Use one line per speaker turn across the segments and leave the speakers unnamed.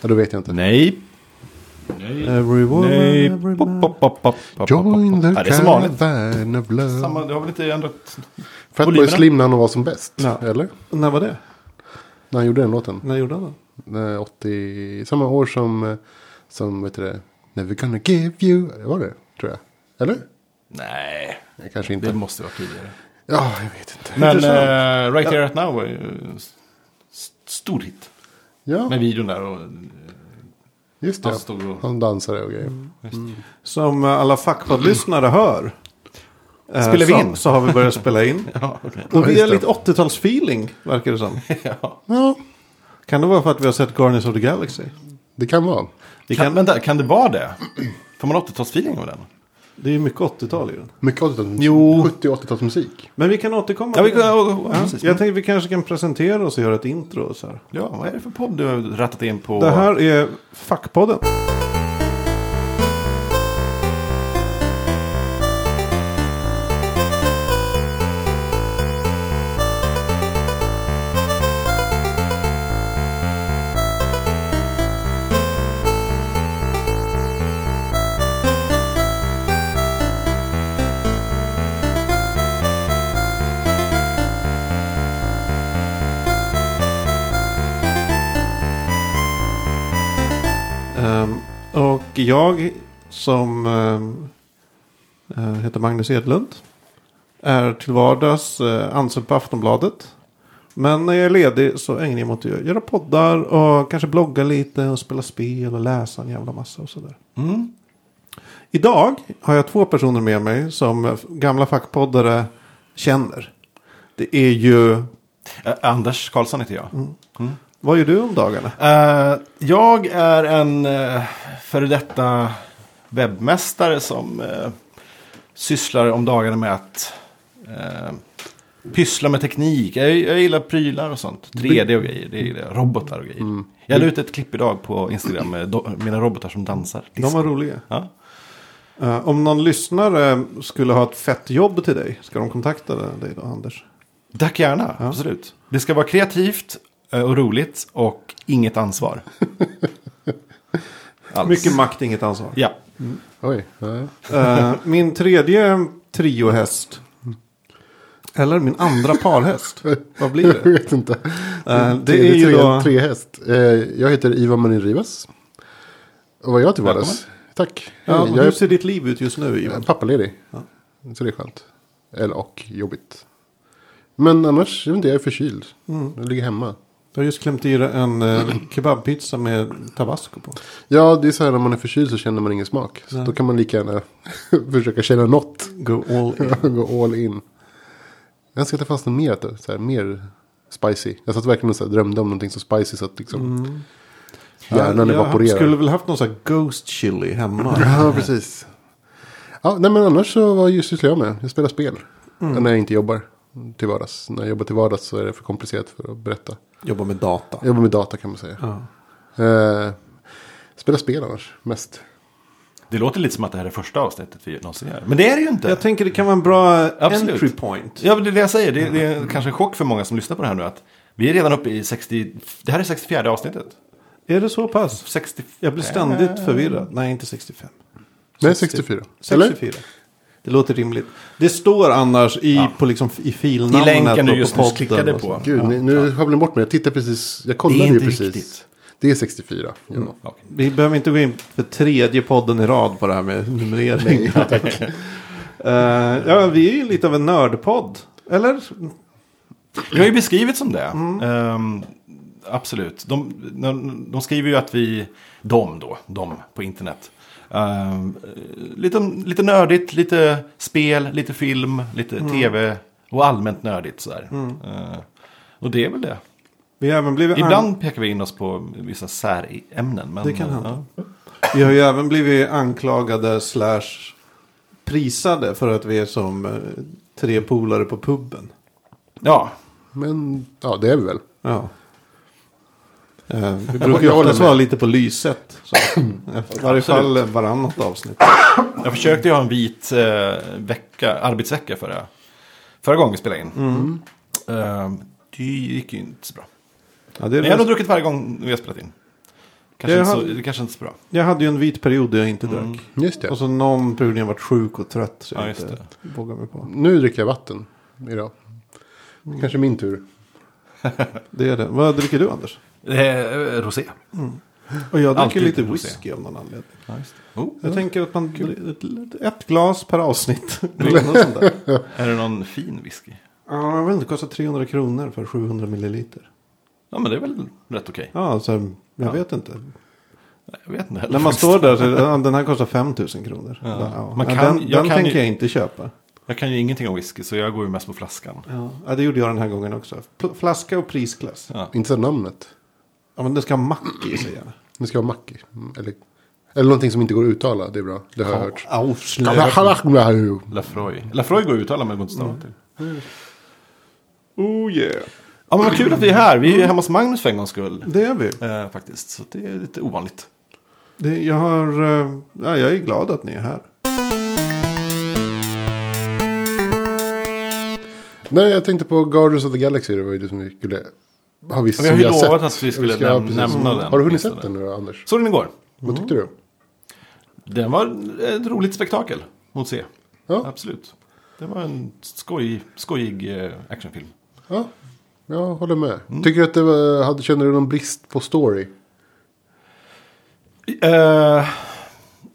Ja, då vet jag inte.
Nej.
Every woman,
Nej.
every
Pop,
man.
pop, pop, pop, pop,
Join
pop.
the
Ja, det är som vanligt.
caravan of love.
Samma, du har väl inte ändrat?
Fatboy
volymerna.
Slim när han var som bäst.
Ja.
Eller?
När var det?
När han gjorde den låten.
När gjorde han den?
Eh, 80, samma år som, eh, som vet du det, Never gonna give you. Var det? Tror jag. Eller?
Nej,
Nej, Kanske
det
inte.
måste vara tidigare.
Ja, jag vet inte.
Men
Intressant.
eh, Right Here Right Now var ju eh, s- stor hit.
Ja,
Med videon där och... eh,
just det.
han stod och-
Han dansade och grejer.
Som eh, alla fackpoddlyssnare hör. eh,
Spelar vi
så,
in?
Så har vi börjat spela in.
Ja, okej.
Och vi
just
har
det.
lite 80-talsfeeling verkar det som.
ja.
Ja,
Kan det vara för att vi har sett Guardians of the Galaxy?
det kan vara.
Det,
Kan,
kan,
vänta, kan det vara det? Får man 80-talsfeeling av den?
det är ju mycket 80-tal i den.
Mycket 80-tals,
Jo.
70 och 80-talsmusik.
Men vi kan återkomma.
Ja, vi,
till det.
ja, ja,
Ja,
precis.
jag tänkte vi kanske kan presentera oss och göra ett intro. och Så här.
ja, vad är det för podd du har rattat in på?
Det här är Fackpodden. Ehm, och jag som ehm, eh, heter Magnus Edlund är till vardags eh, anställd på Aftonbladet. Men när jag är ledig så ägnar jag mig åt att göra poddar och kanske blogga lite och spela spel och läsa en jävla massa och sådär.
Mm.
Idag har jag två personer med mig som gamla fackpoddare känner. Det är ju,
Eh, Anders Karlsson heter jag.
Mm. vad gör du om dagarna?
Eh, jag är en eh, före detta webbmästare som eh, sysslar om dagarna med att eh, pyssla med teknik. Jag, jag gillar prylar och sånt. 3D och grejer. Det gillar jag. Robotar och grejer.
Mm.
Jag la ut ett klipp idag på Instagram med do, mina robotar som dansar.
De var roliga.
Ja.
Eh, om någon lyssnare skulle ha ett fett jobb till dig, ska de kontakta dig då, Anders?
Tack gärna, absolut. Det ska vara kreativt eh, och roligt och inget ansvar. Alls.
Mycket makt, inget ansvar.
Ja.
Oj. nej.
Eh, min tredje triohäst. Eller min andra parhäst. Vad blir
Jag
det?
vet inte.
Eh, det
Tredje
är ju
tre,
då...
tre häst. Eh, jag heter Ivan Marin Rivas. Och vad gör jag till vardags? Tack.
Ja,
Hej, jag
hur
är
ser ditt liv ut just nu, Ivan?
pappaledig. Så det är skönt. Eller och jobbigt. Men annars, jag vet inte, jag är förkyld.
Mm.
Jag ligger hemma.
Du har just klämt i dig en eh, kebabpizza med tabasco på.
Ja, det är så här när man är förkyld så känner man ingen smak. Så då kan man lika gärna försöka känna något.
Go all in.
Gå all in. Jag önskar att det fanns något mer, att det- så här, mer spicy. Jag satt verkligen och så här, drömde om någonting så spicy så att liksom hjärnan
Jag
evaporerar.
skulle väl haft någon sån här ghost chili hemma.
Ja, precis. Ja, nej, men annars så var ju sysslar jag med. Jag spelar spel. När jag inte jobbar till vardags. När jag jobbar till vardags så är det för komplicerat för att berätta.
Jobba med data.
Jag jobbar med data kan man säga.
Ja.
Eh, spelar spel annars, mest.
Det låter lite som att det här är första avsnittet vi någonsin gör. Men det är det ju inte.
Jag tänker det kan vara en bra eh,
Absolut.
entry point.
Ja, men det är det jag säger. Det är, det är kanske en chock för många som lyssnar på det här nu. att Vi är redan uppe i 60... Det här är 64 avsnittet.
Är det så pass?
60...
Jag blir
Eh.
ständigt förvirrad. Nej, inte 65.
Nej, 64. Eller?
64. Det låter rimligt. Det står annars i, på liksom, i filnamnet.
I länken du
och på
just nu
podden
klickade
och
på.
så.
Gud, ni, nu sjabblar ni bort mig. Jag tittar precis. Jag kollade
Det är
ju
inte
precis.
riktigt.
Det är 64. Ja.
Okej.
Vi behöver inte gå in för tredje podden i rad på det här med numrering. Eh, ja, vi är ju lite av en nördpodd. Eller?
Vi har ju beskrivit som det. Ehm, absolut. De, de, de skriver ju att vi, de då, de på internet. Ehm, lite, lite nördigt, lite spel, lite film, lite
Mm.
tv och allmänt nördigt sådär. Ehm, och det är väl det.
Vi har, även blivit an-
Ibland pekar vi in oss på vissa särämnen. Men,
Det kan
eh,
hända. vi har ju även blivit anklagade slash prisade för att vi är som eh, tre polare på puben.
Ja,
Men ja, det är vi väl.
Ja. Eh, vi
jag
brukar ju
håller
oftast
med.
vara lite på lyset. Så. I varje fall varannat avsnitt.
ja. jag försökte ju ha en vit eh, vecka, arbetsvecka förra, förra gången vi spelade in.
Mm.
Ehm, det gick ju inte så bra.
Ja, det är
Men jag har
det
nog druckit varje gång vi har spelat in. Kanske
Jag
inte så,
hade-
det kanske inte är så bra.
Jag hade ju en vit period där jag inte
Mm.
drack.
Just det.
Och så någon period när jag varit sjuk och trött. Så jag
Ja, just
inte vågade mig på.
Nu dricker jag vatten idag. Kanske min tur.
Det är det. Vad dricker du Anders?
Eh, rosé.
Och jag dricker
Alltid
lite
rosé.
whisky Mm. av någon anledning.
Oh,
Jag tänker att man ett, ett glas per avsnitt. Eller något sånt där.
är det någon fin whisky?
Ja, jag vet inte, det kostar 300 kronor för 700 milliliter.
Ja, men det är väl rätt okej.
Ja, så jag
Ja.
vet inte.
Nej, Jag vet inte heller.
När man
faktiskt.
står där så är det, "Ja, den här kostar 5000 kronor.
Ja.
Ja.
Man
Ja,
kan-
den
jag
den
kan
tänker
ju-
jag inte köpa.
Jag kan ju ingenting om whisky, så jag går ju mest på flaskan.
Ja. det gjorde jag den här gången också. Pl- Flaska och prisklass.
Ja.
Inte så namnet.
Ja, men det ska ha mack i sig gärna.
Det ska vara Macki. Mm, Eller, eller någonting som inte går att uttala. Det är bra. Det har jag hört.
Avslöja.
Lafroy. Lafroy går att uttala, men det går inte att
Mm.
stava till.
Oh yeah.
Ja, men vad kul att vi är här. Vi är ju hemma hos Magnus för en gångs skull.
Det är vi.
Eh, faktiskt, så det är lite ovanligt.
Det, jag, har, eh, ja, jag är glad att ni är här.
Nej, jag tänkte på Guardians of the Galaxy. Det var ju det som vi skulle... Har vi,
Ja, vi har ju
sett.
lovat att vi skulle
ja,
näm-
precis.
nämna den.
Har du hunnit
åtminstone. Mm.
sett den nu Anders?
Såg den igår.
Vad tyckte du?
Den var ett roligt spektakel att se.
Ja,
Absolut. Det var en skoj, skojig eh, actionfilm.
ja. jag håller med.
Mm.
Tycker du att det var, hade, kände du någon brist på story?
Eh,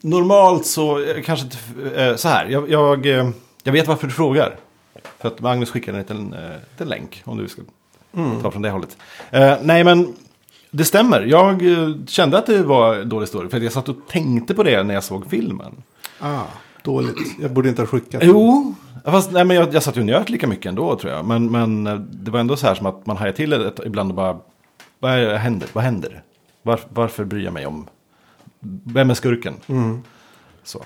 normalt så eh, kanske inte... Eh, så här, jag, jag, eh, jag vet varför du frågar. För att Magnus skickade en liten, eh, liten länk om du ska ta från det hållet. Eh, nej, men det stämmer. Jag eh, kände att det var dålig story. För att jag satt och tänkte på det när jag såg filmen.
Ah, dåligt. Jag borde inte ha skickat den.
Jo, fast nej, men jag, jag satt ju och njöt lika mycket ändå tror jag. Men, men eh, det var ändå så här som att man hajar till det ett, ibland och bara, vad är, det- händer? Vad händer? Var, varför bryr jag mig om, vem är skurken?
Mm.
Så.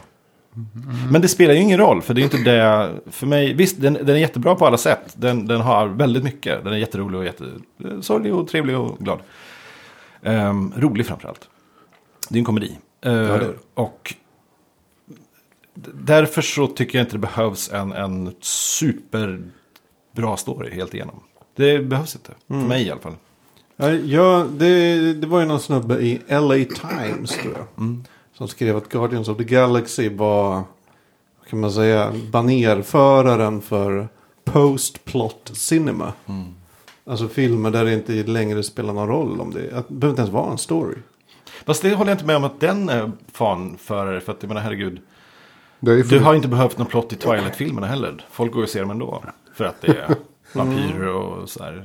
Men det spelar ju ingen roll, för det är inte det, för mig, visst den, den är jättebra på alla sätt. Den, den har väldigt mycket, den är jätterolig och jättesorglig och trevlig och glad. Ehm, rolig framförallt. Det är en komedi. Ehm,
det är det.
Och därför så tycker jag inte det behövs en, en superbra story helt igenom. Det behövs inte,
Mm.
för mig i alla fall.
Ja, Ja, det, det var ju någon snubbe i LA Times tror jag.
Mm.
Som skrev att Guardians of the Galaxy var, vad kan man säga, banerföraren för post-plot cinema.
Mm.
Alltså filmer där det inte längre spelar någon roll om det, att det behöver inte ens vara en story.
Fast det håller jag inte med om att den är fanförare, för att jag menar herregud.
Det har ju
Du
funnits,
har inte behövt någon plott i Twilight-filmerna heller. Folk går ju och ser dem ändå. För att det är vampyrer och så här.
Ja,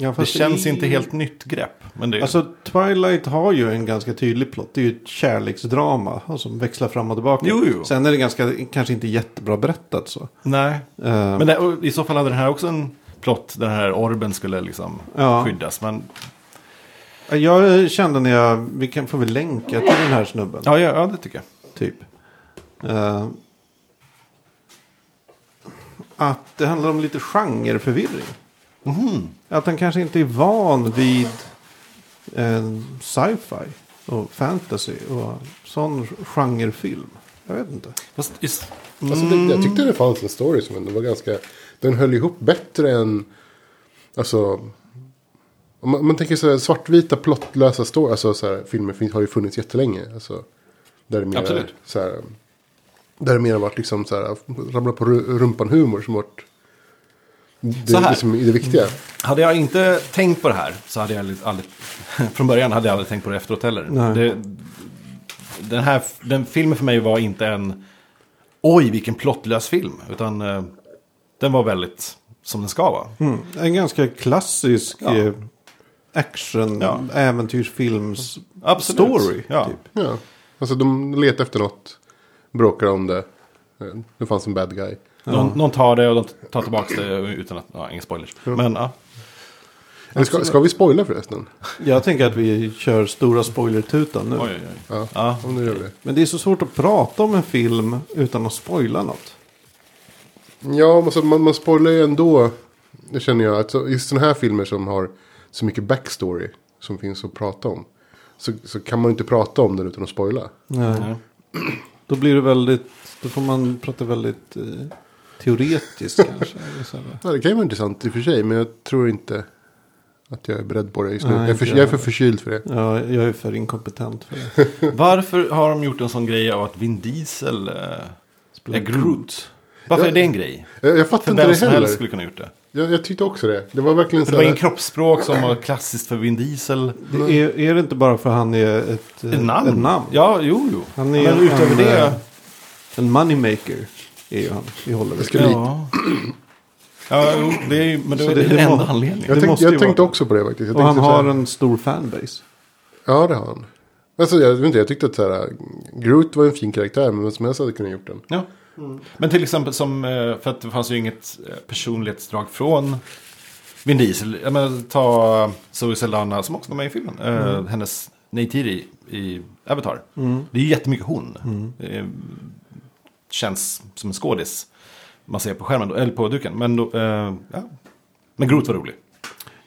Det
Mm. fast
känns
är-
inte helt nytt grepp. Men det,
Alltså Twilight har ju en ganska tydlig plott. Det är ju ett kärleksdrama och som växlar fram och tillbaka.
Jo, jo.
Sen är det ganska, kanske inte jättebra berättat så.
nej.
Eh,
Men det, och i så fall hade den här också en plott. Den här orben skulle liksom
Ja.
skyddas. Men
Jag kände när jag, vi kan, får väl länka till den här snubben.
ja, ja, ja, det tycker jag.
Typ. Eh, att det handlar om lite genreförvirring.
Mhm.
Att han kanske inte är van vid eh, sci-fi och fantasy och sån genrefilm. Jag vet inte.
Fast just,
alltså, det, jag
Mm.
tyckte det fanns en story som ändå var ganska... Den höll ihop bättre än... Alltså... Om man, om man tänker så här, svartvita plottlösa story, alltså så här, filmer fin- har ju funnits jättelänge. Alltså, där det mer,
Absolut.
Så här, där det mer har varit liksom så här, ramla på ru- rumpan-humor som varit... Det,
Så här.
det, som är det viktiga.
Hade jag inte tänkt på det här så hade jag aldrig- aldrig... Från början hade jag aldrig tänkt på det efteråt heller.
Nej.
Det, den här den filmen för mig var inte en... Oj, vilken plottlös film. Utan eh, den var väldigt som den ska vara.
Mm. En ganska klassisk
Ja.
eh, action,
Ja.
äventyrsfilms
Absolut.
story.
Ja.
Typ.
Ja. Alltså de letar efter något, bråkar om det. Eh, Det fanns en bad guy.
Någon, någon tar det och de tar tillbaka det utan att... Ja, inga spoilers. Men ja.
Eller ska, ska vi spoila förresten?
Jag tänker att vi kör stora spoilertutan nu.
Oj, oj, oj.
Ja,
Ja.
om nu gör vi det.
Men det är så svårt att prata om en film utan att spoila något.
Ja, alltså, man, man spoilar ju ändå. Det känner jag. Alltså, just sådana här filmer som har så mycket backstory som finns att prata om. Så, så kan man ju inte prata om den utan att spoila.
Nej.
Då blir det väldigt, då får man prata väldigt eh, teoretiskt kanske. eller så här.
Ja, det kan ju vara intressant i och för sig, men jag tror inte Att jag är beredd på det just nu.
Nej,
jag, är för,
inte
jag är
jag.
för förkyld för det.
Ja, jag är för inkompetent för det.
Varför har de gjort en sån grej av att Vin Diesel eh, är Groot? Varför
Ja,
är det en grej?
Jag, jag fattar
För
inte
vem
det
som
heller.
helst skulle kunna gjort det.
Jag, jag tyckte också det. Det var verkligen
För
så
det var ingen
här.
kroppsspråk som var klassiskt för Vin Diesel.
det är, är det inte bara för han är ett, eh,
Ett namn?
Ett namn?
Ja, jo, jo.
Han är
Men
ju
utöver
en, eh,
det...
En moneymaker är ju han i Hollywood.
Jag, skulle,
Ja. Ja, jo, det är ju... Men det
Så
är
det-
den
det
enda
må-
anledningen.
det
jag, tänk,
måste ju
jag
vara
tänkte
det.
också på det faktiskt. Jag
Och han
tänkte så här-
har en stor fanbase.
Ja, det har han. Alltså, jag, vet inte, jag tyckte att så här, Groot var en fin karaktär, men vem som helst hade kunnat gjort den.
Ja. Men till exempel som, eh, för att det fanns ju inget eh, personlighetsdrag från Vin Diesel. Jag menar, ta eh, Zoe Saldana som också var med i filmen. Eh, Hennes Neytiri i Avatar. Det är ju jättemycket hon. Eh, Känns som en skådis. Man ser på skärmen, då, eller på duken. Men, då, eh, ja. men Groot var rolig.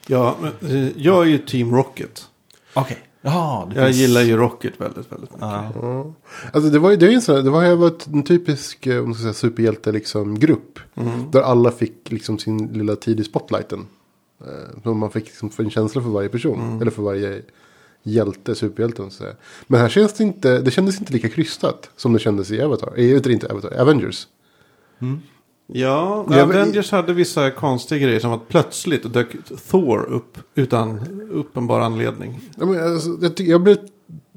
Ja, men, eh, jag är ju Team Rocket.
Okej. Jaha, det
Jag
finns-
gillar ju Rocket väldigt, väldigt mycket.
Ja.
Ja. Alltså, det var ju det är ju en sån här, det var, ju varit en typisk eh, om man ska säga, superhjälte liksom, grupp. Där alla fick liksom, sin lilla tid i spotlighten. Eh, Så man fick liksom, få en känsla för varje person. Eller för varje hjälte, superhjälte. om man ska säga. Men här känns det inte, det kändes inte lika krystat som det kändes i Avatar. Eh, Jag vet inte, Avatar, Avengers. Ja,
Ja,
men-
Avengers hade vissa konstiga grejer som att plötsligt dök Thor upp utan uppenbar anledning.
Ja, men, alltså, jag, tycker- jag blev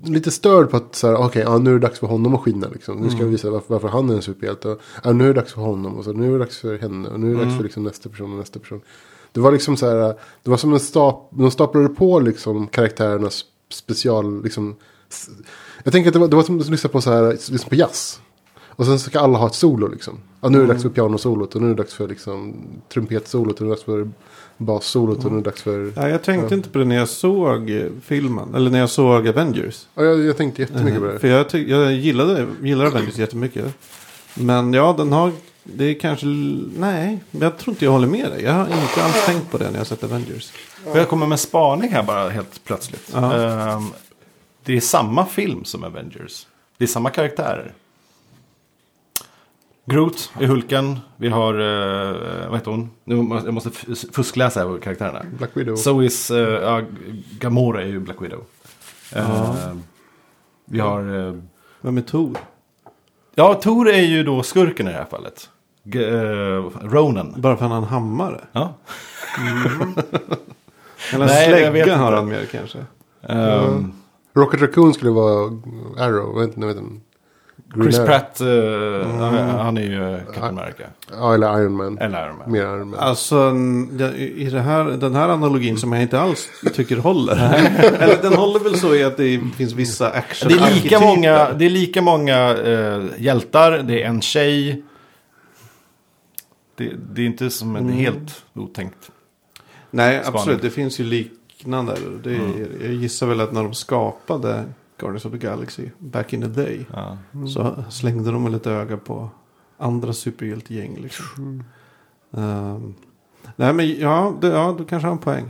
lite störd på att så här, okej, ja, nu är det dags för honom att skina. Liksom. Nu ska jag visa varför, varför han är en superhjälte. Och, ja, nu är det dags för honom och så, nu är det dags för henne och nu är det dags för liksom, nästa person och nästa person. Det var liksom så här, det var som en stap, de staplade på liksom karaktärernas special, liksom. s- Jag tänker att det var, det var som att lyssna på så här, liksom på jazz. Och sen ska alla ha ett solo liksom. Ja, nu är det dags för pianosolot och nu är det dags för liksom trumpetsolot och nu är det dags för bassolot och nu är det dags för...
Ja, jag tänkte inte på det när jag såg eh, filmen, eller när jag såg Avengers.
Ja, jag, jag tänkte jättemycket på det.
För jag, ty- jag gillade, gillar Avengers jättemycket. Men ja, den har... Det är kanske... l- Nej, men jag tror inte jag håller med dig. Jag har inte alls tänkt på det när jag sett Avengers.
Och jag kommer med en spaning här bara helt plötsligt.
Ja.
Ehm, det är samma film som Avengers. Det är samma karaktärer. Groot är Hulken. Vi har, eh, vad heter hon? Nu, må- jag måste f- fuskläsa här på karaktärerna.
Black Widow.
So is, eh, ja, Gamora är ju Black Widow. Ehm, vi har, eh,
Vem är Thor?
ja Thor är ju då skurken i det här fallet. G- eh, Ronan.
Bara för att han har en hammare?
Ja.
Eller en
Nej, jag vet
slägga
inte.
har han mer kanske.
Ehm,
Rocket Raccoon skulle vara Arrow. Vet, nej, vet inte. Green
Chris
Arrow. Mm.
Pratt, eh, han, är- han är ju eh, Captain America.
Ja, eller Iron Man.
Eller Iron Man.
Mer Iron Man.
Alltså n- ja, i i det här, den här analogin som jag inte alls tycker håller. Eller den håller väl så i att det finns vissa action
Det är lika många, det är lika många eh, hjältar, det är en tjej. Det, det är inte som en helt otänkt.
Nej,
spaning.
absolut. Det finns ju liknande. Det är,
Mm.
Jag gissar väl att när de skapade Guardians of the Galaxy back in the day.
Ja.
Så slängde de väl ett öga på andra superhjältegäng. Liksom.
Mm.
Ehm, nej men ja, det, ja, du kanske har en poäng.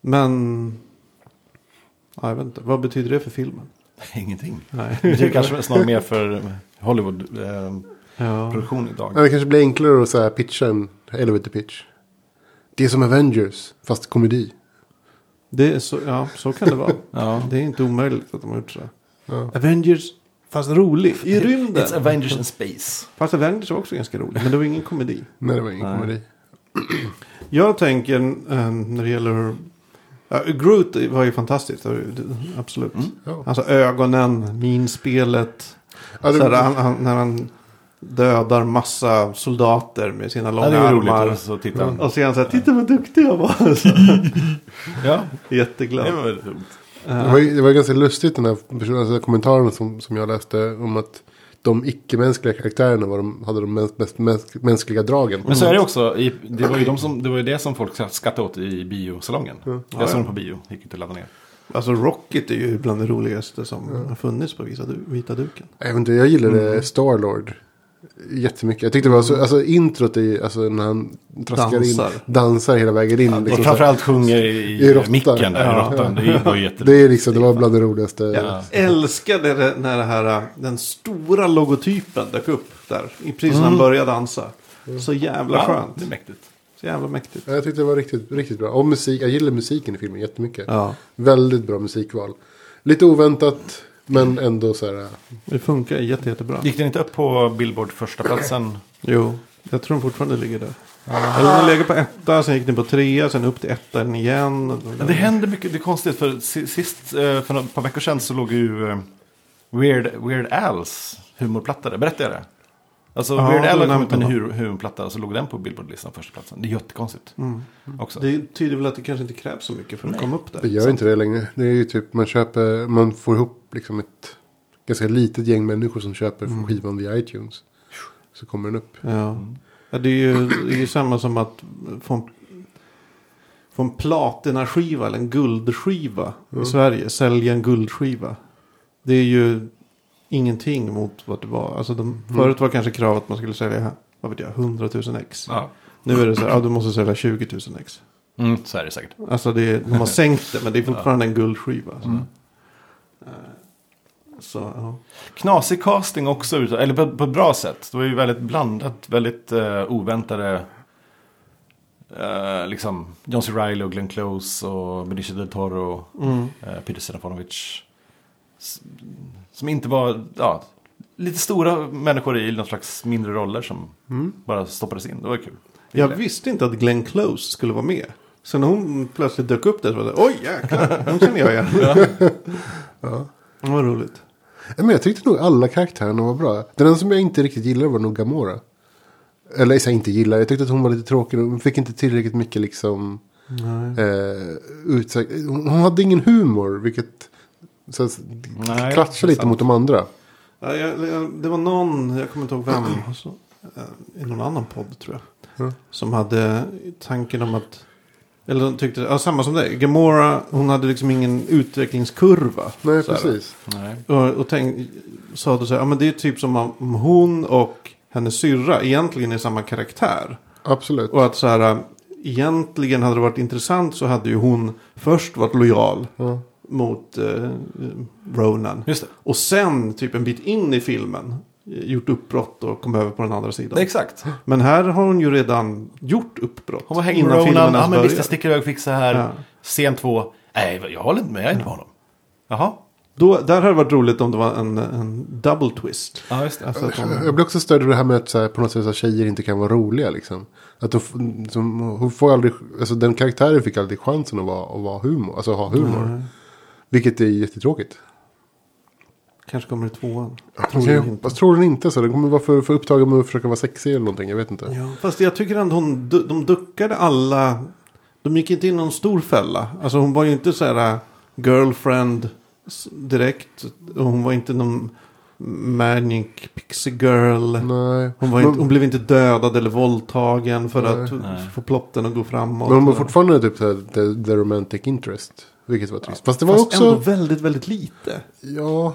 Men... Ja, jag vet inte. Vad betyder det för filmen?
Ingenting.
Nej.
Det är kanske snarare mer för Hollywood-produktion
Ja.
Ja,
idag.
det kanske blir enklare att så här, pitcha en elevator pitch. Det är som Avengers, fast komedi.
Det är så, ja, så kan det vara.
Ja.
Det är inte omöjligt att de har gjort så.
Ja.
Avengers, fast rolig. I rymden.
It's Avengers in Space.
Fast Avengers var också ganska rolig, men det var ingen komedi.
Nej, det var ingen
Nej.
komedi.
Jag tänker eh, när det gäller... Ja, Groot var ju fantastiskt, det var ju- det- absolut.
Ja.
Alltså ögonen, minspelet.
Ja, det-
så här, han, han, när han dödar massa soldater med sina
Ja,
långa
det är ju roligt
armar.
att så titta.
Och så är han så här, titta vad duktig jag var. Så,
Ja,
Jätteglad.
det var väldigt roligt.
Det var, ju- det var ganska lustigt den här personen, alltså, kommentaren som, som jag läste om att de icke-mänskliga karaktärerna var de, hade de mest, mest, mänsk- mänskliga dragen.
Men så är det också. i- Det var ju, de som, det, var ju det som folk skrattade åt i biosalongen. Jag såg den på bio, gick inte att ladda ner.
Alltså Rocket är ju bland det roligaste som har funnits på visa du- vita duken.
Jag vet inte, jag gillade
Mm.
Starlord jättemycket. Jag tyckte det var så, alltså introt i, alltså när han traskar
Dansar.
in, dansar hela vägen in.
Och
liksom så här.
framförallt sjunger i,
I råttan.
micken där,
Ja.
i råttan. Det var ju jätteroligt.
Det är liksom, det var bland det roligaste.
Jag älskade det när det här, den stora logotypen dök upp där. i- Precis när han började dansa. Så jävla
Mm. Ja,
skönt.
Det är mäktigt.
Så jävla mäktigt.
Ja, Jag tyckte det var riktigt, riktigt bra. Och musik, jag gillar musiken i filmen jättemycket.
Ja,
Väldigt bra musikval. Lite oväntat, men ändå så här.
det funkar jätte, jättebra.
Gick den inte upp på Billboard första platsen?
Jo, jag tror de fortfarande ligger där. Eller den ligger på etta, sen gick den på trea, sen upp till ettan igen.
Men det händer mycket, det är konstigt för si- sist, eh, för ett par veckor sedan så låg ju eh, Weird, Weird Al's humorplatta där, berättade jag det? Alltså
Ja,
Weird Al
det
har kommit med en
nämnde
hu- humorplatta och så låg den på Billboardlistan första platsen. Det är jättekonstigt också.
Det tyder väl att det kanske inte krävs så mycket för att komma upp där.
Det gör inte det längre. Det är ju typ, man köper, man får ihop liksom ett ganska litet gäng människor som köper
Mm.
skivan via iTunes. Så kommer den upp.
Ja. Mm. ja det är ju, det är ju samma som att få en, få en platinaskiva eller en guldskiva i Sverige. Sälja en guldskiva. Det är ju ingenting mot vad det var. Alltså de, Förut var kanske kravet att man skulle sälja vad vet jag, 100 000 ex.
Ja,
Nu är det så här, ja, du måste sälja 20 000 ex.
mm, så är det säkert.
Alltså det är, de har sänkt det men det är fortfarande en guldskiva. Så, Eh, så ja.
Knasig casting också, utav- eller på, på ett bra sätt. Det var ju väldigt blandat, väldigt eh, oväntade. eh, liksom John C. Reilly och Glenn Close och Benicio del Toro.
Mm.
eh, Peter Stefanovic. S- Som inte var, ja, lite stora människor i någon slags mindre roller som bara stoppades in. Det var kul.
Jag visste inte att Glenn Close skulle vara med. Så när hon plötsligt dök upp där så var det oj jäklar, hon känner jag igen. ja. Det var roligt.
Nej, Men jag tyckte nog alla karaktärerna var bra. Den enda som jag inte riktigt gillade var nog Gamora. Eller jag säger inte gillar, jag tyckte att hon var lite tråkig. Hon fick inte tillräckligt mycket liksom... Eh, utsag- hon, hon hade ingen humor, vilket... Så, att-
Nej,
klatschar
det är
lite mot de andra.
Ja, jag, jag, det var någon, jag kommer inte ihåg vem, alltså, eh, i någon annan podd tror jag.
Ja.
Som hade tanken om att, eller de tyckte, ja, samma som dig, Gamora, hon hade liksom ingen utvecklingskurva.
Nej,
så här.
precis.
Nej.
Och, och tänk, sa du så här, ja men det är typ som om hon och hennes syrra egentligen är samma karaktär.
Absolut.
Och att så här, äh, egentligen hade det varit intressant så hade ju hon först varit lojal
Ja.
mot eh, Ronan.
Just det.
Och sen typ en bit in i filmen eh, gjort uppbrott och kom över på den andra sidan.
Nej, Exakt.
Men här har hon ju redan gjort uppbrott.
Hon var hängd med Ronan.
filmen
Ja,
ens
men visst, jag
börjar.
sticker iväg och fixar här.
Ja.
Scen två. Nej, jag håller inte med. Jag är inte med honom. Jaha.
Då, där hade det varit roligt om det var en, en double twist.
Ja, just det.
Alltså att hon,
Äh, Jag blir också störd av det här med att så här, på något sätt så här, tjejer inte kan vara roliga. Liksom. Att de, f- som, hon får aldrig, alltså, den karaktären fick aldrig chansen att, vara, att vara humor, alltså, ha humor. Vilket är jättetråkigt.
kanske kommer i tvåan.
Jag
Troligen inte.
hoppas, tror den inte så. Den kommer vara för, för upptagen med att försöka vara sexig eller någonting. Jag vet inte.
Ja, fast jag tycker ändå hon, du- de duckade alla. De gick inte in i någon stor fälla. Alltså hon var ju inte så här äh, girlfriend s- direkt. Och Hon var inte någon manic pixie girl.
Nej.
Hon, var
Men-
inte, hon blev inte dödad eller våldtagen för
Nej.
att få plotten att gå framåt.
Men hon var fortfarande typ så här, the, the romantic interest. Vilket var trist. Fast det var
Fast
också...
ändå väldigt, väldigt lite.
Ja.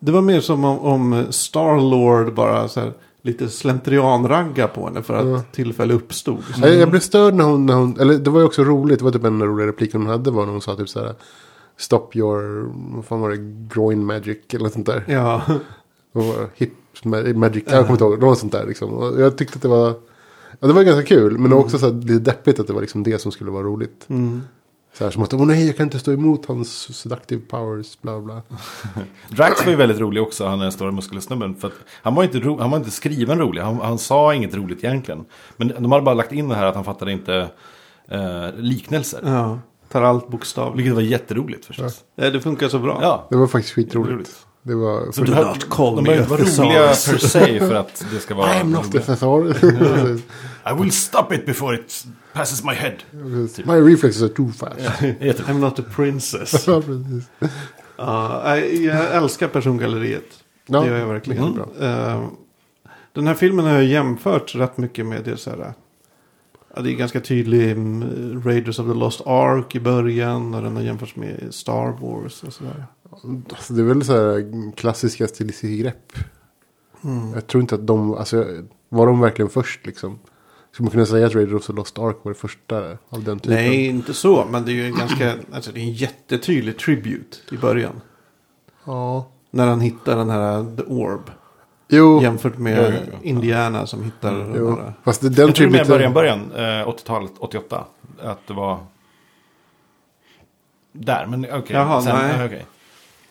Det var mer som om, om Starlord bara så här, lite slentrianragga på henne för att
Ja.
tillfälle uppstod.
Nej, Jag, blev störd när hon, när hon... Eller det var ju också roligt. Det var typ en rolig replik hon hade. Var när hon sa typ så här. Stop your... Vad fan var det? Groin magic eller något sånt där.
Ja.
Och var hip ma- magic. Jag kommer inte ihåg. Något sånt där liksom. Och jag tyckte att det var... Ja, det var ganska kul. Men det var också så här, lite deppigt att det var liksom det som skulle vara roligt.
Mm.
Så här som att, åh nej, jag kan inte stå emot hans seductive powers, bla bla.
Drax var ju väldigt rolig också, han den stora muskelsnubben. För att han, var inte ro, han var inte skriven rolig, han, han sa inget roligt egentligen. Men de hade bara lagt in det här att han fattade inte eh, liknelser.
ja. Tar allt bokstavligt.
Vilket var jätteroligt förstås.
Ja, det funkar så bra.
Ja.
Det var faktiskt skitroligt.
Roligt.
Det var...
Så du
Do
har,
not call
de
me
behöver inte
a
vara roliga per se för att det ska vara
I am not the
roliga.
thesaurus.
I will stop it before it passes my head.
My reflexes are too fast.
Jätteroligt.
I'm not a princess.
Ja, precis.
Ja, nej, jag älskar persongalleriet.
Ja.
Det gör jag verkligen.
Mm.
Eh, den här filmen har jag jämfört rätt mycket med det så här. ja, det är ganska tydlig mm, Raiders of the Lost Ark i början. Och den har jämförts med Star Wars och sådär.
Alltså, det är väl så här klassiska stilisgrepp. Jag tror inte att de, alltså var de verkligen först liksom? Skulle man kunna säga att Raiders of the Lost Ark var det första av den typen?
Nej, inte så. Men det är ju en ganska, alltså det är en jättetydlig tribute i början.
Ja.
När han hittar den här The Orb.
Jo,
Jämfört med
Ja, ja, ja.
Indiana som hittar de
jo.
här.
fast det- den typ
Jag tror det
typen...
mer början, början. eh, 80-talet, 88. Att det var... Där, men okej.
Jaha,
Sen-
nej.
ja, okej.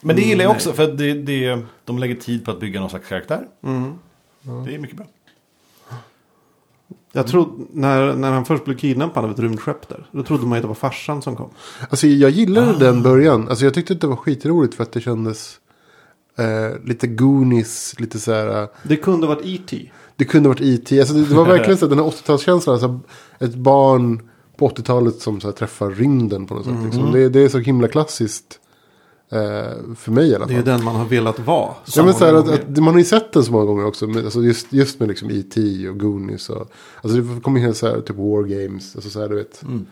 Men det
Mm,
gillar jag
nej.
också, för att det, det, de lägger tid på att bygga någon slags karaktär.
Mm.
Det är mycket bra.
Mm.
Jag trodde, när, när han först blev kidnappad av ett rymdskepp där. Då trodde man ju att det var farsan som kom.
Alltså jag gillade
Ah.
den början. Alltså jag tyckte att det var skitroligt för att det kändes eh, lite Goonies, lite så här. eh,
Det kunde varit E E.T.
Det kunde varit IT. Alltså det, det var verkligen så här, den här 80-talskänslan. Alltså ett barn på 80-talet som så här, träffar rymden på något sätt.
Mm.
Liksom. Det, det är så himla klassiskt. Eh, för mig i alla
Det är ju
fall.
den man har velat vara.
Ja, men så här, att,
Samma
att, man har ju sett den så många gånger också. Med, alltså just, just med liksom IT och Goonies. Och, alltså det kommer ju så här, typ War Games. Alltså så här, du vet.
Mm.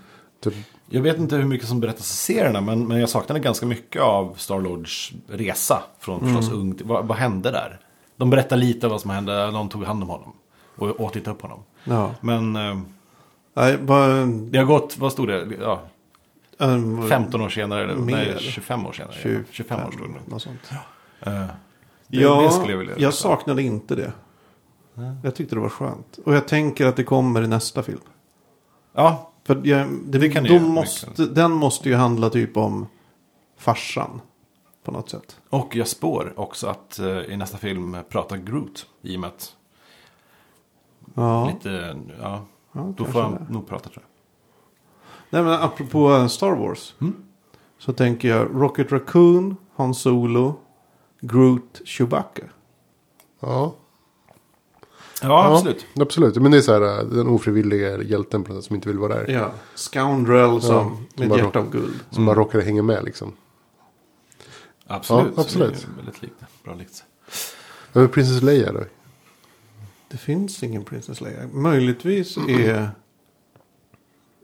Typ,
Jag vet inte hur mycket som berättas i serierna, men, men jag saknade ganska mycket av Starlords resa. Från
Mm.
förstås ung till, vad, vad hände där? De berättar lite vad som hände, någon tog hand om honom. Och åt inte upp honom.
Ja.
Men eh,
Nej, bara, ehm,
det har gått, vad stod det? Ja,
ehm,
15 år senare, eller
Mer,
nej,
eller?
25 år senare. 25 år stod det.
Något sånt.
Eh, det,
Ja,
det skulle jag vilja
jag
veta.
saknade inte det. Jag tyckte det var skönt. Och jag tänker att det kommer i nästa film.
Ja,
För jag, det,
Det kan
då
ju göra,
måste, den måste ju handla typ om farsan. På något sätt.
och jag spår också att eh, i nästa film prata Groot. I och med att
Ja.
lite, ja,
Ja,
då
kanske
får han
det.
nog prata tror jag.
Nej, men apropå eh, Star Wars. Så tänker jag Rocket Raccoon, Han Solo, Groot, Chewbacca.
ja.
Ja, absolut.
Ja, absolut. Men det är så här eh, den ofrivilliga hjälten på något sätt, som inte vill vara där.
Ja, Scoundrel som
som
med
bara
ett hjärta
rock-
av guld.
Som bara råkade hänga med liksom.
Absolut.
Ja, absolut.
Så det är ju väldigt likt. Bra likt.
Över Princess Leia då?
Det finns ingen Princess Leia. Möjligtvis är...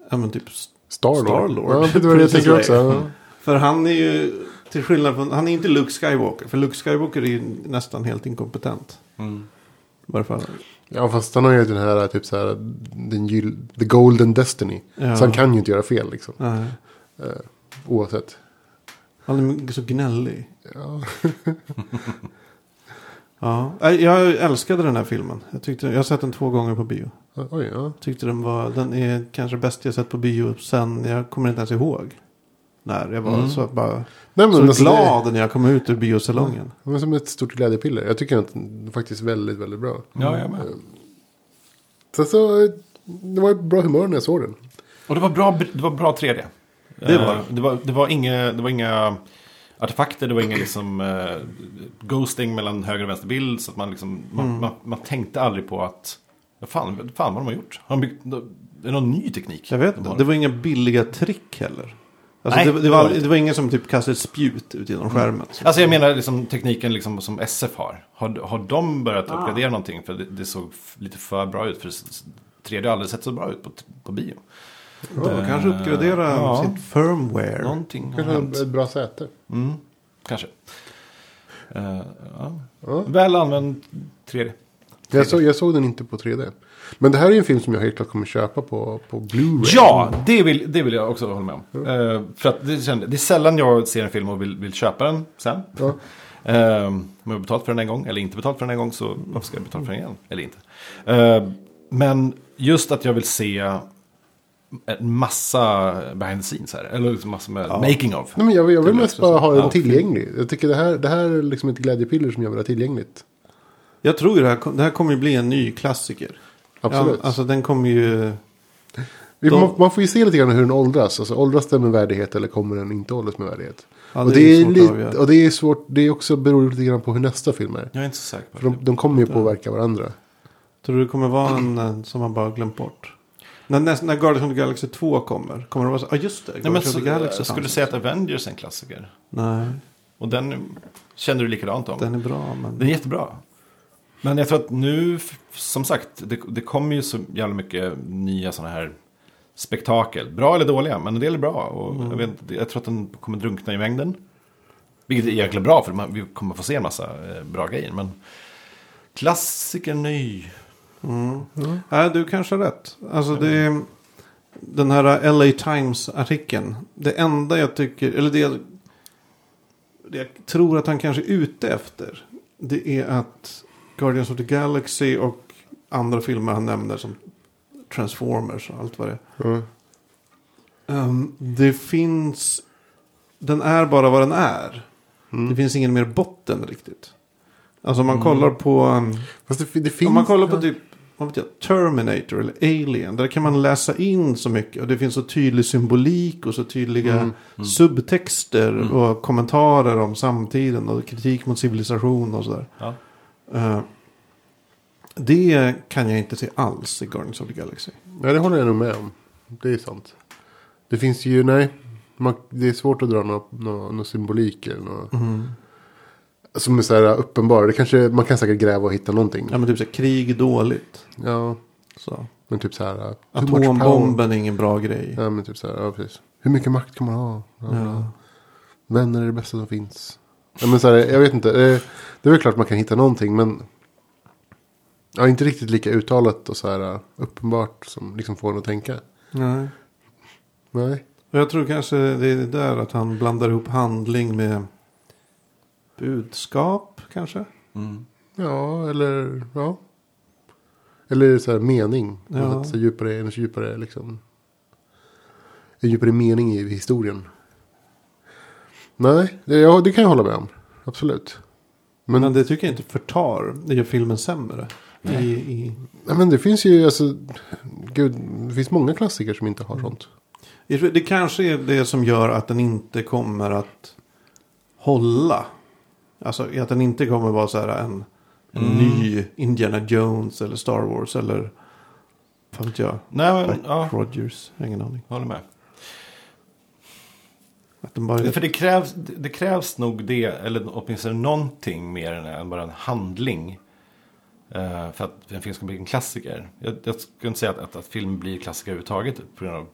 Ja men typ
Starlord.
Starlord.
Ja, det var det jag
Princess
tänker också.
Leia.
Ja.
För han är ju, till skillnad från, han är inte Luke Skywalker. För Luke Skywalker är ju nästan helt inkompetent. I varje fall.
Ja, fast han har ju den här typ så här. Den gyll, the Golden Destiny.
Ja.
Så han kan ju inte göra fel liksom.
Nej.
Oavsett.
Han är så gnällig.
Ja.
Ja. Nej, Jag älskade den här filmen. Jag, tyckte, jag har sett den två gånger på bio.
Oj, ja.
Jag tyckte den var, den är kanske bäst jag sett på bio sen, jag kommer inte ens ihåg. När jag var
Mm.
så bara,
Nej, men
så
alltså,
glad när jag kom ut ur biosalongen.
Det var som ett stort glädjepiller. Jag tycker att den är faktiskt väldigt, väldigt bra.
Ja, jag med.
Sen så. eh, Det var ett bra humör när jag såg den.
Och det var bra, det var bra 3D.
Det var det.
Eh, det. Var, det, var inga, det var inga artefakter, det var inga liksom, eh, ghosting mellan höger och vänster bild. Så att man, liksom,
Mm.
man, man, man tänkte aldrig på att, ja, fan, fan vad de har gjort. Har de byggt, är det någon ny teknik?
Jag vet
De
inte,
har-
det var inga billiga trick heller. Alltså,
Nej,
det, det,
det
var,
var
aldrig-
det.
det var ingen som typ kastade ett spjut ut genom skärmen. Så.
Alltså jag menar liksom tekniken liksom som SF har. Har, har de
Ah.
börjat uppgradera någonting? För det, det såg f- lite för bra ut. För 3D har aldrig sett så bra ut på, t- på bio.
De kanske uppgraderar
Ja.
sitt firmware.
Någonting har
Kanske
hänt.
ett bra säte.
Kanske. Eh, ja.
Ja.
Väl använd 3D.
Jag såg, jag såg den inte på 3D. Men det här är en film som jag helt klart kommer köpa på, på Blu-ray.
Ja, det vill, det vill jag också hålla med om. Eh, för att det, kände, det är sällan jag ser en film och vill, vill köpa den sen.
Ja.
Eh, om jag har betalt för den en gång eller inte betalt för den en gång så varför ska jag betala för den igen? Eller inte. Eh, men just att jag vill se en massa behind the scenes här. Eller liksom massa med making of.
Nej, men jag, jag vill mest bara ha den
Ja,
tillgänglig. Jag tycker det här, det här är liksom ett glädjepiller som jag vill ha tillgängligt.
Jag tror ju det här, kom- det här kommer ju bli en ny klassiker.
Absolut.
Ja, alltså den kommer ju...
Vi,
de-
man, man får ju se lite grann hur den åldras. Alltså, åldras den med värdighet eller kommer den inte åldras med värdighet?
Ja,
och
det
det
är
är,
svårt att
lite,
avgöra.
och det är svårt. Det är också beror lite grann på hur nästa film är.
Jag är inte så säker
För
på det.
de, de kommer ju påverka varandra.
Tror du det kommer vara en eh, som man bara glömt bort? När, näst, när Guardians of the Galaxy 2 kommer, kommer det vara så? Ja ah, just det,
Nej, men
Guardians of
så,
the Galaxy
jag skulle
fanns.
säga att Avengers är en klassiker.
Nej,
Och den känner du likadant om.
den är bra men...
Den är jättebra. Men jag tror att nu, f- som sagt, det, det kommer ju så jävla mycket nya sådana här spektakel. Bra eller dåliga, men en del är bra. Och jag, vet, inte, jag tror att den kommer drunkna i mängden. Vilket är jäkla bra, för man, vi kommer få se en massa eh, bra grejer. Men klassiker ny.
Nej, du kanske har rätt. Alltså det är den här LA Times-artikeln. Det enda jag tycker, eller det, jag- det jag tror att han kanske är ute efter. Det är att Guardians of the Galaxy och andra filmer han nämner som Transformers och allt vad det är.
Mm.
Ehm, det finns... Den är bara vad den är.
Mm.
Det finns ingen mer botten riktigt. Alltså om man kollar på... ehm,
Fast det, det finns...
om man kollar på typ vad vet jag, Terminator eller Alien. Där kan man läsa in så mycket. Och det finns så tydlig symbolik och så tydliga
Mm,
subtexter. Och kommentarer om samtiden och kritik mot civilisation och sådär.
Ja.
Eh, det kan jag inte se alls i Guardians of the Galaxy.
Nej, det håller jag nog med om. Det är sant. Det finns ju, nej. Man, det är svårt att dra någon nå, nå symbolik eller nå, Som är så här uppenbara. Det kanske, man kan säkert gräva och hitta någonting.
Ja men typ så här, krig är dåligt.
Ja,
Så.
men typ så här. too much power.
Atombomben är ingen bra grej.
Ja, men typ så här. Ja, precis. Hur mycket makt kan man ha? Ja,
Ja.
Vänner är det bästa som finns. Ja, men så här, jag vet inte. eh, Det är väl klart man kan hitta någonting. Men ja, inte riktigt lika uttalat och så här eh, uppenbart som liksom får en att tänka.
Nej.
Nej.
Och jag tror kanske det är där att han blandar ihop handling med budskap kanske.
Mm.
Ja, eller ja. Eller så här mening.
Ja.
Att så djupare, en djupare liksom. En djupare mening i historien. Nej, det, ja, det kan jag hålla med om. Absolut.
Men,
Men,
det tycker jag inte förtar. Det gör filmen sämre. I, i,
nej, men det finns ju, alltså, gud, det finns många klassiker som inte har
Mm.
sånt.
jag tror- det kanske är det som gör att den inte kommer att hålla. Alltså att den inte kommer vara så här en, en
Mm.
ny Indiana Jones eller Star Wars eller vad vet jag.
Nej, men
Buck
ja,
Rogers, jag har ingen aning.
håller med.
Att den bara...
För det krävs, det krävs nog det, eller åtminstone någonting mer än- än bara en handling. eh, För att en film ska bli en klassiker. Jag, jag skulle inte säga att, att, att film blir klassiker överhuvudtaget på grund av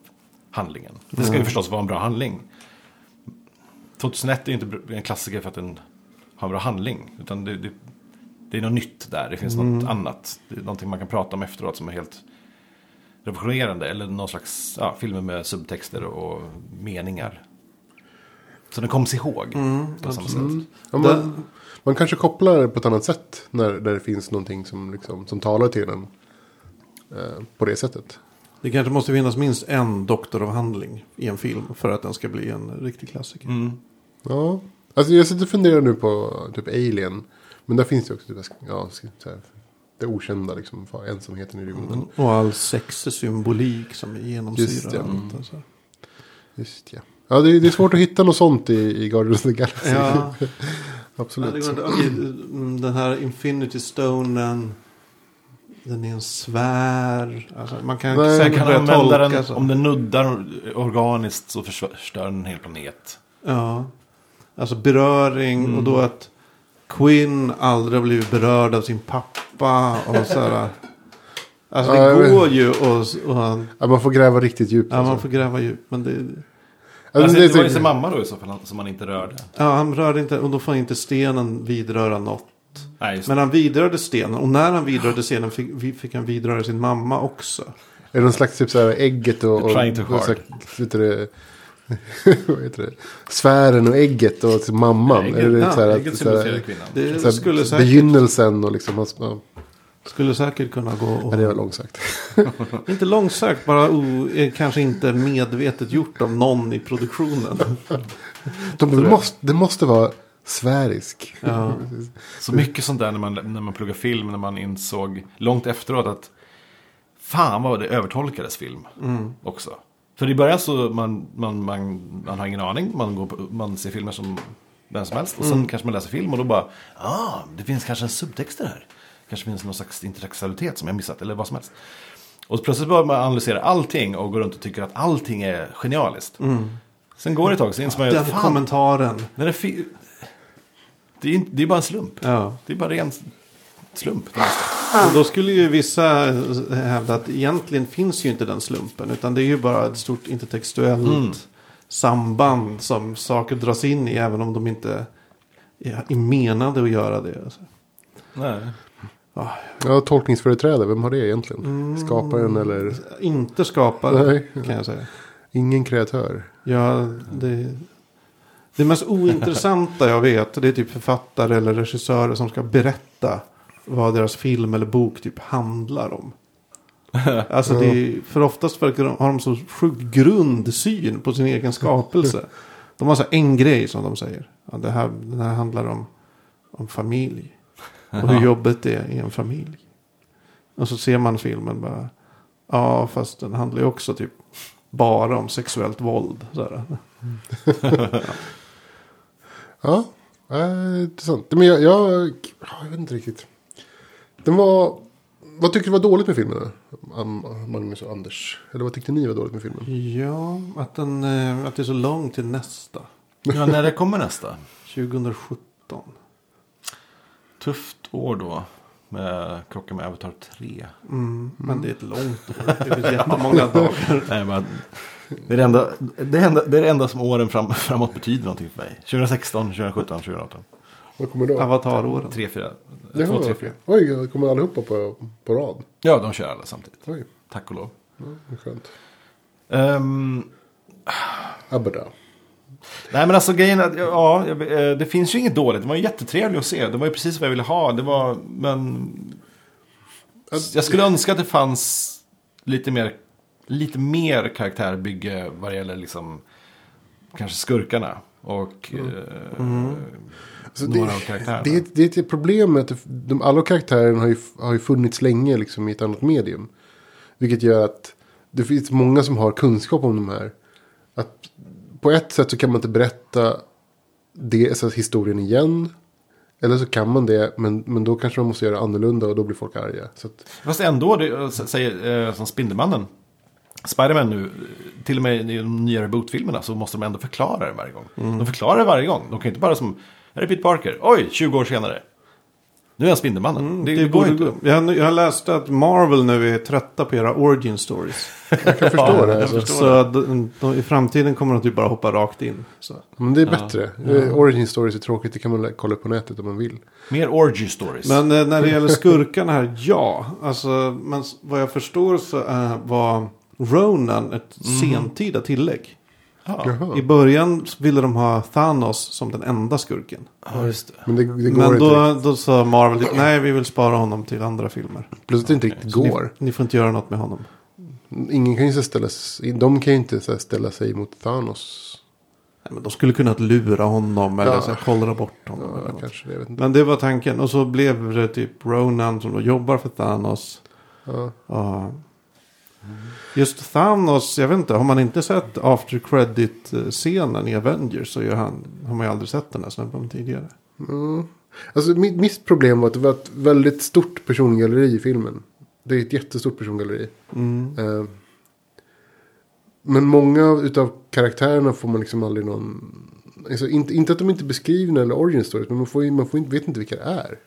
handlingen. Det ska ju förstås vara en bra handling. 2001 är ju inte br- en klassiker för att den har en bra handling. Utan det, det, det är något nytt där, det finns
Mm.
något annat. Det är någonting man kan prata om efteråt som är helt revolutionerande. Eller någon slags ja, filmer med subtexter och meningar. Så den kommer sig ihåg
Mm,
på samma sätt.
Ja, man, man kanske kopplar på ett annat sätt när där det finns någonting som, liksom, som talar till en. Eh, på det sättet.
Det kanske måste finnas minst en doktoravhandling i en film för att den ska bli en riktig klassiker.
Mm.
Ja. Alltså jag sitter och funderar nu på typ Alien. Men där finns det också typ, ja, så här, det okända liksom. för Ensamheten i rymden.
Och all sexig symbolik som
Mm. Just
genomsyrar
det. Mm.
allt. Alltså.
Just ja. Ja, det, det är svårt att hitta något sånt i, i Guardians of the Galaxy.
Ja, ja, det
Absolut.
går inte. Okej, mm, den här Infinity Stonen. Den är en svär. Alltså, man kan
Nej,
Sen
säkert
kan
börja
man använda
tolka
den,
så.
om den nuddar organiskt så förstör den en hel planet.
Ja. Alltså beröring
Mm.
och då att Quinn aldrig har blivit berörd av sin pappa. Och så här. Alltså
Ja, jag
det
vet.
går ju och, och
Ja, man får gräva riktigt djupt.
ja, man
alltså.
får gräva djupt. Men det,
Alltså,
alltså,
det är
det var ju
så-
sin mamma då i så fall som man inte rörde.
Ja, han rörde inte, och då får inte stenen vidröra något.
Nej, just
Men han vidrörde stenen, och när han vidrörde stenen fick, vi- fick han vidröra sin mamma också.
Är det någon slags typ så här ägget och... och,
You're trying too
och så
hard.
här, heter det, vad heter det? Sfären och ägget och till mamman.
Ägget-
är det
ja,
så här,
Ägget
att, så
symboliserar
här,
kvinnan.
Det
så här,
skulle, säkert,
begynnelsen och liksom... hans- Ja,
skulle säkert kunna gå och,
det var långsökt.
Inte långsökt, bara o, eh, kanske inte medvetet gjort av någon i produktionen.
De, det, måste, det måste vara sfärisk.
Ja.
Så mycket sånt där när man, när man pluggade film, när man insåg långt efteråt att fan vad det övertolkades film
Mm.
också. För i början så man, man, man, man har ingen aning, man, går på, man ser filmer som vem som helst och sen
Mm.
kanske man läser film och då bara, ah, det finns kanske en subtext i det här. Kanske finns någon slags intertextualitet som jag missat eller vad som helst. Och plötsligt börjar man analysera allting och går runt och tycker att allting är genialiskt. Sen går det ett tag så inser man ju
Mm. Den
att fan,
kommentaren.
den är fi- det, är, inte- det är bara en slump.
Ja.
Det är bara ren slump.
Och då skulle ju vissa eh, hävda att egentligen finns ju inte den slumpen. Utan det är ju bara ett stort intertextuellt samband som saker dras in i. Även om de inte är är menade att göra det. Alltså.
Nej.
Ah,
Ja, tolkningsföreträde, vem har det egentligen?
Mm.
Skaparen eller
inte skapare
Nej.
kan jag säga.
ingen kreatör?
Ja, det, det mest ointressanta jag vet det är typ författare eller regissörer som ska berätta vad deras film eller bok typ handlar om. Alltså det är, för oftast verkar de, har de så sjukt grundsyn på sin egen skapelse. De har så här en grej som de säger. Ja, det här, den här handlar om, om familj. Och hur jobbet är i en familj. Och så ser man filmen bara. Ja, fast den handlar ju också typ bara om sexuellt våld. Så här.
Ja, eh, intressant. Men jag, jag, jag vet inte riktigt. Den var... Vad tyckte du var dåligt med filmen? då? Am- Magnus och Anders. Eller vad tyckte ni var dåligt med filmen?
Ja, att, den, eh, att det är så långt till nästa.
Ja, när det kommer nästa.
2017.
Tufft år då. Med krocken med Avatar 3.
Mm, Men det är ett långt år. Det finns jättemånga dagar.
Nej, men, det, är det, enda, det, enda, det är det enda som åren fram, framåt betyder någonting för mig. 2016, 2017, 2018.
Vad kommer då?
Avataråren.
3, 4.
Jaha.
2, 3, 4.
Oj, det kommer allihopa på, på rad.
Ja, de kör alla samtidigt.
Oj,
Tack och lov.
vad skönt.
Ehm,
Abba.
nej men alltså grejen är att, ja, jag, eh, det finns ju inget dåligt. Det var ju jättetrevligt att se. Det var ju precis vad jag ville ha. Det var, men... Jag skulle önska att det fanns lite mer, lite mer karaktärbygge vad det gäller liksom, kanske skurkarna. Och eh,
Alltså
några av
det,
karaktärerna.
det, är ett- det är ett problem med att det- de, alla karaktärerna har ju, har ju funnits länge liksom, i ett annat medium. Vilket gör att det finns många som har kunskap om de här. Att på ett sätt så kan man inte berätta det, alltså, historien igen. Eller så kan man det, men, men då kanske man måste göra annorlunda och då blir folk arga. Så att,
Fast ändå, det, eh, s- säger eh, som Spindelmannen. Spiderman nu, eh, till och med i de nya reboot-filmerna så måste de ändå förklara det varje gång. De förklarar det varje gång. De kan ju inte bara som, här är Pete Parker, oj, 20 år senare. Nu är han Spindelmannen.
Mm,
det, det, går inte.
Jag, jag läste att Marvel nu är trötta på era origin stories.
jag kan förstå det. Alltså.
Så de, de, i framtiden kommer de typ bara hoppa rakt in. Så.
Men det är bättre. Eh, Origin stories är tråkigt, det kan man lä- kolla på nätet om man vill.
Mer orgy stories.
Men eh, när det gäller skurkarna här, ja. Alltså, men s- vad jag förstår så eh, var Ronan ett sentida tillägg.
Mm. ja.
Jaha.
I början ville de ha Thanos som den enda skurken.
ja, just det.
Men det, det går
Men
inte. riktigt.
då, då sa Marvel typ, nej vi vill spara honom till andra filmer.
Plus att det inte riktigt går.
Ni, ni får inte göra något med honom.
Ingen kan ju så ställa sig, de kan ju inte så här ställa sig mot Thanos.
Nej, men de skulle kunnat lura honom eller
Ja.
så här, kollra bort honom. eller
Ja,
något.
kanske det. Jag vet inte.
Men det var tanken. Och så blev det typ Ronan som då jobbar för Thanos.
Ja.
Ja. Just Thanos, jag vet inte, har man inte sett after credit-scenen i Avengers så gör han, har man ju aldrig sett den här snubben tidigare.
Mm. Alltså, mitt, mitt problem var att det var ett väldigt stort persongalleri i filmen. Det är ett jättestort persongalleri. Eh, men många av karaktärerna får man liksom aldrig någon... Alltså, inte, inte att de inte är beskrivna eller origin stories, men man, får, ju- man får, inte- vet inte vilka det är.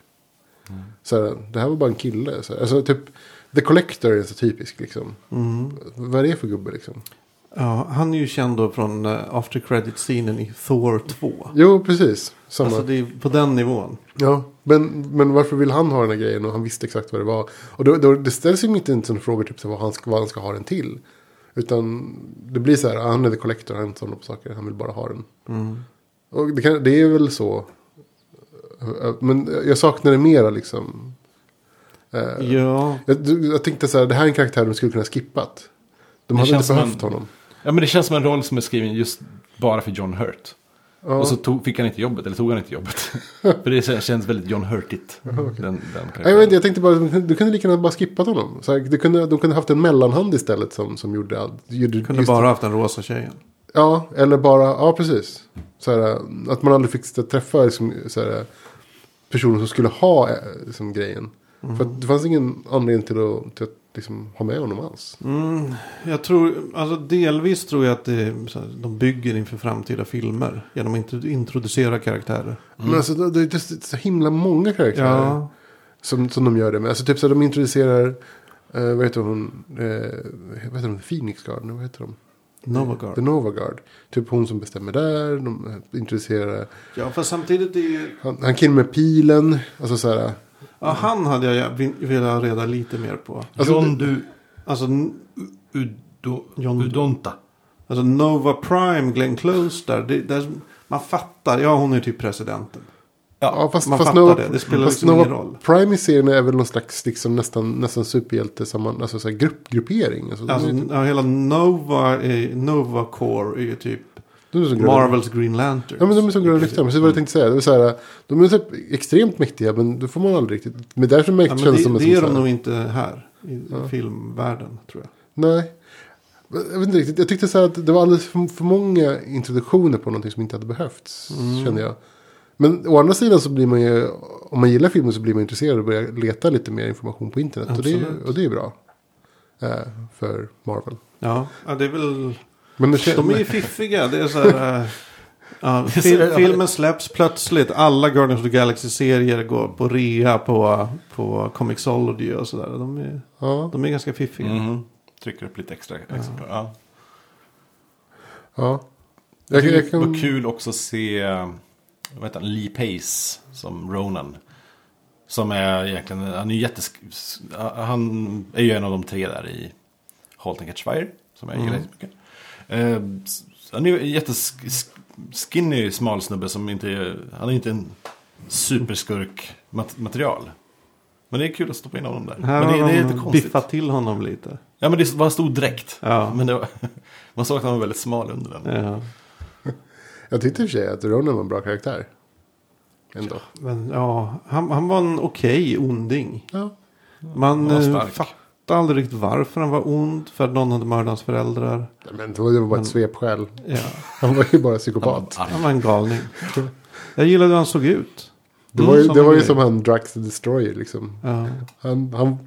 Så här, det här var bara en kille. Så här. Alltså, typ, The Collector är så typisk. Liksom. Vad är det för gubbe liksom?
Ja, han är ju känd då från eh, after credit-scenen i Thor 2.
Jo, precis. Samma.
Alltså det är på den nivån.
Ja, men, men varför vill han ha den här grejen och han visste exakt vad det var? Och då, då, det ställs ju inte en sån fråga typ så här, vad, han ska, vad han ska ha den till. Utan det blir så här, ah, han är the collector, han samlar på saker, han vill bara ha den. Och det, kan, det är väl så. Eh, Men jag saknar det mera liksom.
Ja,
Jag, du- jag tänkte så här, det här är en karaktär de skulle kunna ha skippat. De
Det
hade
känns
inte
som en-
behövt honom.
ja, men det känns som en roll som är skriven just bara för John Hurt.
Ja.
Och så tog, fick han inte jobbet, eller tog han inte jobbet. för det kän- känns väldigt John Hurtigt. Den, den
Nej, Jag, vet, inte, jag tänkte bara, du kunde lika gärna bara skippat honom. Så här, du kunde, de kunde haft en mellanhand istället som, som gjorde allt. gjorde-
kunde
just-
bara haft den rosa tjejen.
Ja, eller bara, ja precis. Så här, att man aldrig fick träffa liksom, så här, personer som skulle ha eh, liksom, grejen. För att det fanns ingen anledning till att, till att liksom, ha med honom alls.
Mm, jag tror, alltså delvis tror jag att det, är så här, de bygger inför framtida filmer. Genom att intro- introducera karaktärer.
Men alltså det det är just så himla många karaktärer som, som de gör det med. Alltså typ så här, de introducerar, eh, vad heter hon, eh, vad heter hon, Phoenix Guard, Nej, vad heter de? The
Novagard.
Nova Guard. Typ hon som bestämmer där, de eh, introducerar,
Ja, fast samtidigt är ju...
han, han killen med pilen, alltså så här.
Ja, han hade jag vin- velat reda lite mer på.
John Du
Alltså, n-
Udo,
John-
Udonta.
alltså Nova Prime, Glenn Close där. Det, där man fattar, ja hon är typ presidenten.
Ja, fast,
man
fast
fattar
Nova,
det. Det spelar
fast
liksom ingen
Nova
roll.
Prime i serien är väl någon slags liksom, nästan, nästan superhjälte, samman, alltså, så här, grupp, gruppering. Alltså,
Alltså,
det är typ-
ja, hela Nova, är, Nova Core är ju typ
det är så gröna-
Marvels Green Lantern.
Ja men de är som gröna lyktor, precis vad jag tänkte säga. Det är så här, de är så här extremt mäktiga men det får man aldrig riktigt. Men därför märks känns
det,
som en
det
som
är
så
de
här-
nog inte här i filmvärlden tror jag.
Nej. Jag vet inte riktigt. Jag tyckte så här att det var alldeles för, för många introduktioner på någonting som inte hade behövts. Kände jag. Men å andra sidan så blir man ju, om man gillar filmen så blir man intresserad och börjar leta lite mer information på internet. Och det, är-
Absolut.
och det är bra. Eh, för Marvel.
Ja, ja det är väl...
Men det
De är ju
känns...
fiffiga. Det är så här, eh, ja,
ser
fil,
det.
filmen släpps plötsligt. Alla Guardians of the Galaxy-serier går på rea på, på Comixology och sådär. De är,
Ja,
de är ganska fiffiga.
Mhm. Trycker upp lite extra exemplar. Ja.
ja.
Jag
Jag,
tycker
jag
Det
kan...
var kul också att se eh, vad heter han, Lee Pace som Ronan. Som är egentligen, han är ju jättes... Han är ju en av de tre där i Halt and Catch Fire. Som jag gillar
Mm.
jättemycket. Eh, s- han är ju en jätteskinny smal snubbe som inte är, Han är inte en superskurk mat- material. Men det är kul att stoppa in honom där.
Här
men det,
har
det är lite
de
konstigt.
biffat till honom lite.
Ja men det var en stor dräkt.
Ja. Eh,
Men det var, man såg att han var väldigt smal under den.
Ja.
jag tyckte i och för sig att Ronan var en bra karaktär. Ändå.
Men, ja, han, han var en okej onding.
Ja.
Han
Man
var
eh,
stark.
fattade aldrig riktigt varför han var ond. För att någon hade mördat hans föräldrar.
Men det var det var bara ett svepskäl.
Ja,
Han var ju bara psykopat.
Arg.
han var en galning. Jag gillade hur han såg ut.
Det var ju,
Mm,
det var ju
som-
som han Drax the Destroyer liksom.
Ja.
Han, han,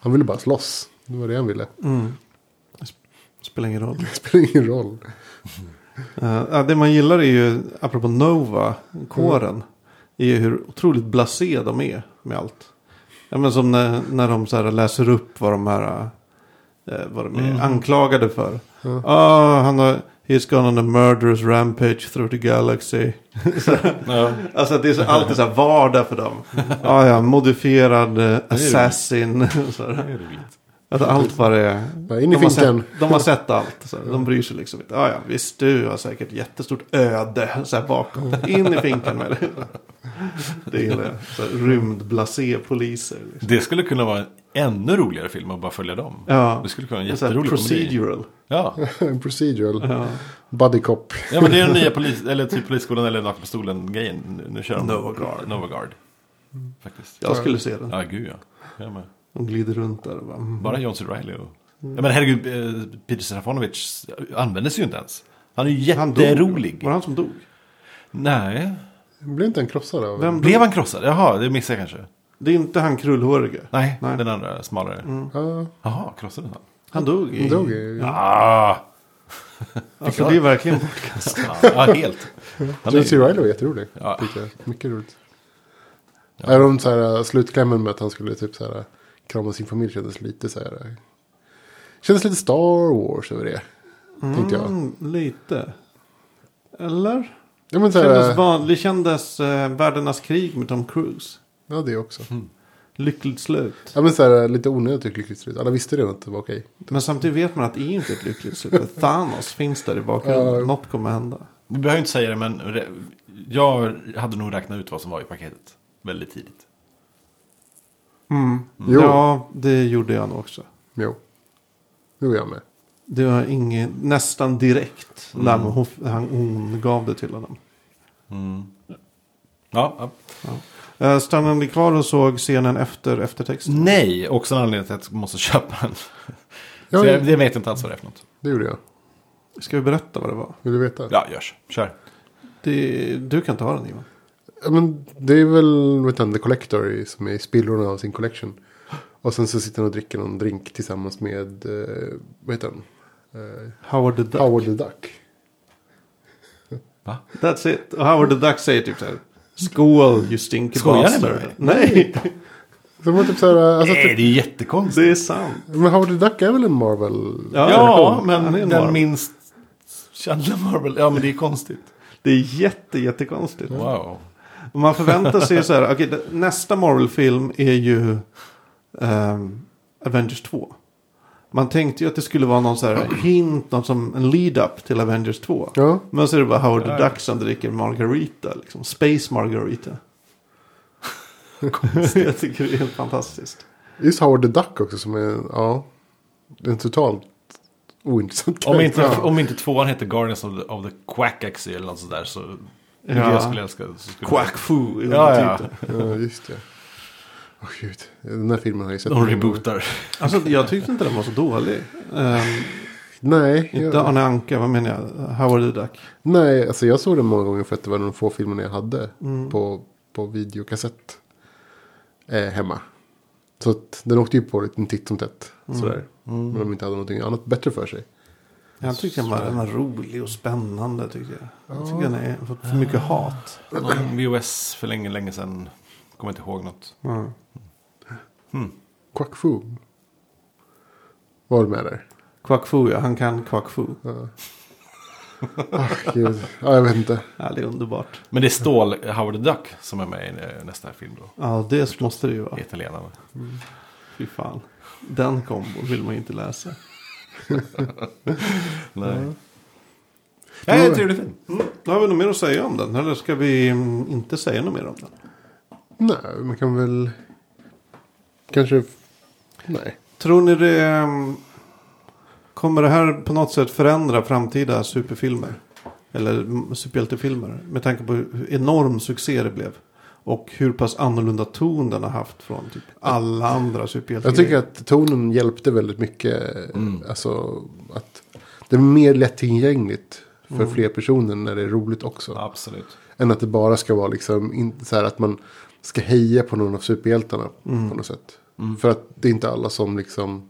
han ville bara slåss. Det var det han ville.
Mm. Spelar ingen roll.
Det spelar ingen roll.
Eh, ja, det man gillar är ju, apropå Nova, kåren, är ju hur otroligt blasé de är med allt. Ja, men som när, när de så här läser upp vad de här eh, vad de är anklagade för.
Ja.
Ah, han har, he's gone on a murderous rampage through the galaxy. Så här,
Ja.
alltså det är så, alltid så här vardag för dem. Ah, ja, modifierad eh, assassin. Så här. Alltså allt vad det är.
Bara in i
de, har
finkan.
sett, de har sett allt. Så här. de bryr sig liksom inte. Ja, ja, visst du har säkert jättestort öde så här bakom. In i finkan med det. Det gillar jag. Så här, Rymdblasé-poliser. Liksom.
Det skulle kunna vara en ännu roligare film att bara följa dem.
Ja.
Det skulle kunna vara en
Så här,
jätterolig komedi.
procedural.
Ja.
En procedural.
Ja.
Buddy cop.
ja, men det är den nya polis, eller typ polisskolan eller Nakna Pistolen-grejen. Nu- Nu kör de
Nova Guard.
Nova Guard. Faktiskt.
Jag skulle se den.
Ja, gud ja. Jag med.
De glider runt där och bara. mm.
Bara John C. Reilly och... Ja, men herregud, eh, Peter Stefanovic användes ju inte ens. Han är ju
Han dog.
jätterolig.
Var det han som dog?
Nej.
Blev inte han krossad av?
Vem dog?
Blev han krossad? Jaha, det missade jag kanske.
Det är inte han krullhårige.
Nej,
Nej.
den andra smalare.
Ja,
Jaha, krossade han?
Han dog. I...
han dog ju.
Ah!
Alltså det är verkligen bortkastat.
Ja, helt. Han är
John C.
ju-
Reilly var jätterolig.
Ja.
Tyckte jag. Mycket roligt. Även om så här, äh, slutklämmen med att han skulle typ så här, krama sin familj kändes lite så här. äh, Kändes lite Star Wars över det. Tänkte jag.
Mm, lite. Eller?
Ja, men så
Det kändes,
här, äh,
van, det kändes eh, världarnas krig med Tom Cruise.
ja det också.
Mm.
Lyckligt slut.
Ja, men så här, äh, lite onödigt lyckligt slut. Alla visste redan att det var okej.
Men samtidigt vet man att det är inte ett lyckligt slut. Thanos finns där i bakgrunden.
Ja.
Något kommer hända.
Vi behöver inte säga det, men re- jag hade nog räknat ut vad som var i paketet väldigt tidigt.
Jo.
Ja, det gjorde jag nog också.
Jo. Jo, jag med.
Det var ingen, nästan direkt när
Mm.
hon, han, hon gav det till honom.
Ja, Mm. ja.
Eh, Stannade ni kvar och såg scenen efter eftertexten?
Nej, också en anledning till att jag måste köpa en.
Ja,
Så
ja.
jag, det vet jag inte alls vad det är för något.
Det gjorde jag.
Ska vi berätta vad det var?
Vill du veta?
Ja, görs. Kör.
Alltså, Det, du kan ta den Ivan.
Ja, Men det är väl vet du, The Collector i- som är i spillrorna av sin collection. Och sen så sitter han och dricker någon drink tillsammans med, eh, vad heter han? Eh,
Howard the Duck.
Howard the Duck.
That's it. Och Howard the Duck säger typ så här. Skål you stinky
Skojar ni med
bastard."
mig?
Nej.
Så man typ så här, alltså,
Nej,
typ,
det är jättekonstigt.
Det är sant.
men Howard the Duck är väl en Marvel?
Ja,
Ja,
hon- han är
men den
en Marvel.
minst kända Marvel. Ja, men det är konstigt.
Det är jätte, jättekonstigt.
Wow.
Och Man förväntar sig så här. Okej, det- nästa Marvel-film är ju ehm, Avengers 2. Man tänkte ju att det skulle vara någon så här hint, någon som en lead-up till Avengers 2.
Ja.
Men så är det bara Howard the
Ja.
Duck som dricker margarita, liksom. Space margarita. jag tycker det är helt fantastiskt.
Just Howard the Duck också som är, ja. En totalt ointressant
Om
karaktär.
inte,
Ja.
om inte tvåan heter Guardians of the, of the Quackaxy eller något sådär så...
Ja.
Det skulle jag älska. Så skulle
Quack Foo. är
Ja, ja.
undertiteln.
Ja, just det. Åh gud. Den här filmen har jag ju sett.
De rebootar.
Alltså, jag tyckte inte den var så dålig. Ehm,
Nej.
inte
Jag,
Arne Anka, vad menar jag? Howard the Duck.
nej, alltså jag såg den många gånger för att det var de få filmerna jag hade på, på videokassett. Eh, hemma. Så att den åkte ju på lite titt som tätt. Sådär.
Mm.
Men de inte hade någonting annat bättre för sig.
Jag tyckte den var, den var rolig och spännande tycker jag. Jag tycker den är- har fått för mycket hat.
Någon VOS för länge, länge sedan. Kommer inte ihåg något.
Mm.
Quack Fu. Var du med där?
Quack Foo, ja. Han kan Quack Foo.
Åh, Ah, gud. Ja, jag vet inte.
Ja, det är underbart.
Men det är Stål, Howard the Duck, som är med i eh, nästa film då.
Ja, det måste det ju vara.
I Italienarna.
Fy fan. Den kombon vill man ju inte läsa.
Nej. Ja, det är en trevlig film.
mm. Då har vi något mer att säga om den. Eller ska vi mm, inte säga något mer om den?
Nej, man kan väl... Kanske... Nej.
Tror ni det... mm, Kommer det här på något sätt förändra framtida superfilmer? Eller mm, superhjältefilmer? Med tanke på hur enorm succé det blev. Och hur pass annorlunda ton den har haft från typ alla andra superhjältar.
Jag tycker att tonen hjälpte väldigt mycket.
Mm.
Alltså att det är mer lättillgängligt för
Mm.
fler personer när det är roligt också.
Absolut.
Än att det bara ska vara liksom in, så här att man ska heja på någon av superhjältarna
Mm.
på något sätt. För att det är inte alla som liksom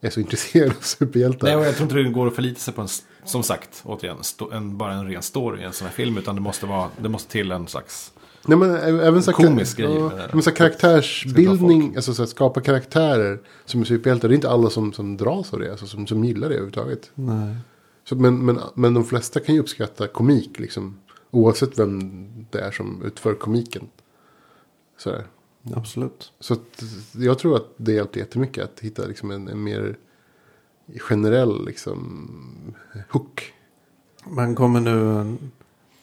är så intresserade av superhjältar.
Nej, och jag tror inte det går att förlita sig på en, s- som sagt, återigen, sto- en, bara en ren story i en sån här film. Utan det måste, vara, det måste till en slags...
Nej men ä- även så här,
Komisk
ja,
grej med det där.
men så här
Ska
karaktärsbildning, alltså så här, skapa karaktärer som är superhjältar. Det är inte alla som, som dras av det, alltså som, som gillar det överhuvudtaget.
Nej.
Så, men, men, men de flesta kan ju uppskatta komik, liksom, oavsett vem det är som utför komiken. Så, där.
Absolut.
så att, jag tror att det hjälpte jättemycket att hitta liksom, en, en mer generell liksom, hook.
Man kommer nu en-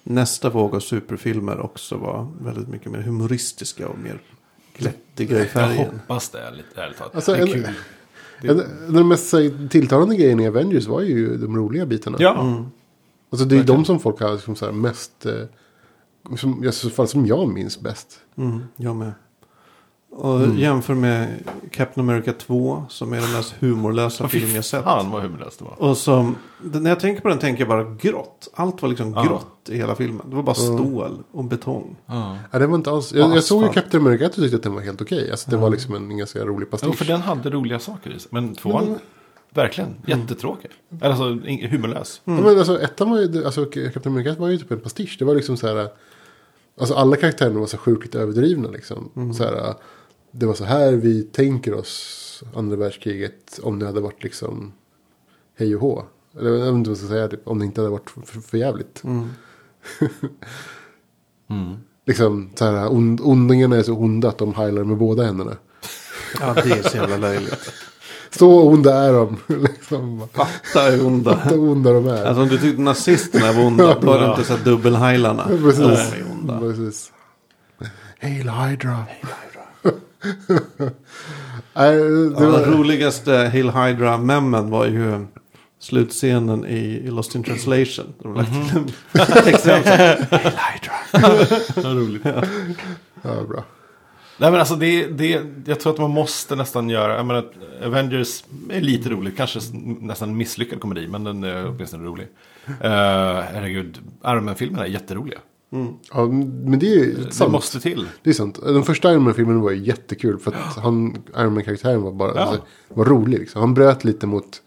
nästa våg av superfilmer också vara väldigt mycket mer humoristiska och mer glättiga i
Jag
färgen.
hoppas det, ärligt ärligt talat.
Alltså,
det
en,
är kul.
en, en av de mest så här, tilltalande grejerna i Avengers var ju de roliga bitarna.
Ja,
Alltså det är ju de som folk har liksom så här mest, eh, som, i så fall som jag minns bäst.
Mm, jag med. Och
Mm.
jämför med Captain America 2 som är den mest humorlösa film jag sett.
fan vad humorlöst det var.
Och som, när jag tänker på den tänker jag bara grått. Allt var liksom
Ja.
grått i hela filmen. Det var bara stål och betong.
Ja.
Ja, det var inte alls, jag, jag såg ju
Asfalt.
Captain America och tyckte att den var helt okej. Alltså det var liksom en ganska rolig
Jo, för
pastisch.
den hade roliga saker i sig. Men tvåan, verkligen, jättetråkig. Eller Alltså in- humorlös.
ja, men alltså ettan var ju, alltså Captain America var ju typ en pastisch. Det var liksom så här, alltså alla karaktärerna var så sjukligt överdrivna liksom. Så här, det var så här vi tänker oss andra världskriget om det hade varit liksom hej och hå. Eller jag vet inte vad jag ska säga, typ, om det inte hade varit för, för jävligt. Liksom så här, ond, ondingarna är så onda att de heilar med båda händerna.
Ja, det är så jävla löjligt.
Så onda är de. liksom.
Fatta hur onda.
Så onda de är.
Alltså om du tyckte nazisterna var onda, då är det inte så här dubbelheilarna. De
Precis.
är onda.
Precis. Hail Hydra. Nej, det
Ja,
var,
den roligaste Hill Hydra-memmen var ju slutscenen i i Lost in Translation. De har lagt
Mhm.
till en textremsa. Hill Hydra.
roligt.
ja, bra.
Nej men alltså det, det, jag tror att man måste nästan göra, jag menar Avengers är lite rolig, kanske s- nästan en misslyckad komedi, men den är åtminstone rolig. Uh, herregud, Iron Man-filmerna är jätteroliga.
Ja, men det är ju
Det
sant.
måste till.
Det är sant. Den första Iron Man-filmen var ju jättekul. För att han, Iron Man-karaktären var bara
Ja.
alltså, var rolig. Liksom. Han bröt lite mot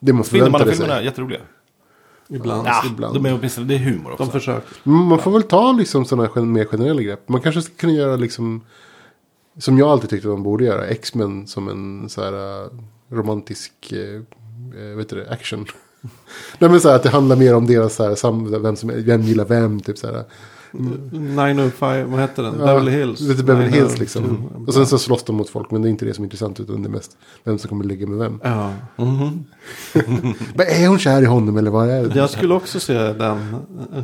det man förväntade
Spindelmannen-filmerna är
sig.
jätteroliga.
Ibland.
Ja,
ibland.
de är åtminstone, det är humor också.
De försöker.
Men Man får väl ta liksom, sådana gen- mer generella grepp. Man kanske skulle kunna göra liksom. Som jag alltid tyckte man borde göra. X-Men som en så här eh, romantisk. eh, eh, vet du det, action. Nej men så här att det handlar mer om deras så här, sam- vem, som, vem gillar vem. Typ så här.
905, vad hette den?
Ja,
Beverly Hills. Mm.
Lite Beverly Hills liksom.
902.
Och sen så slåss de mot folk, men det är inte det som är intressant. Utan det är mest vem som kommer ligga med vem.
Ja.
Men är hon kär i honom eller vad är det?
Jag skulle också se den. eh,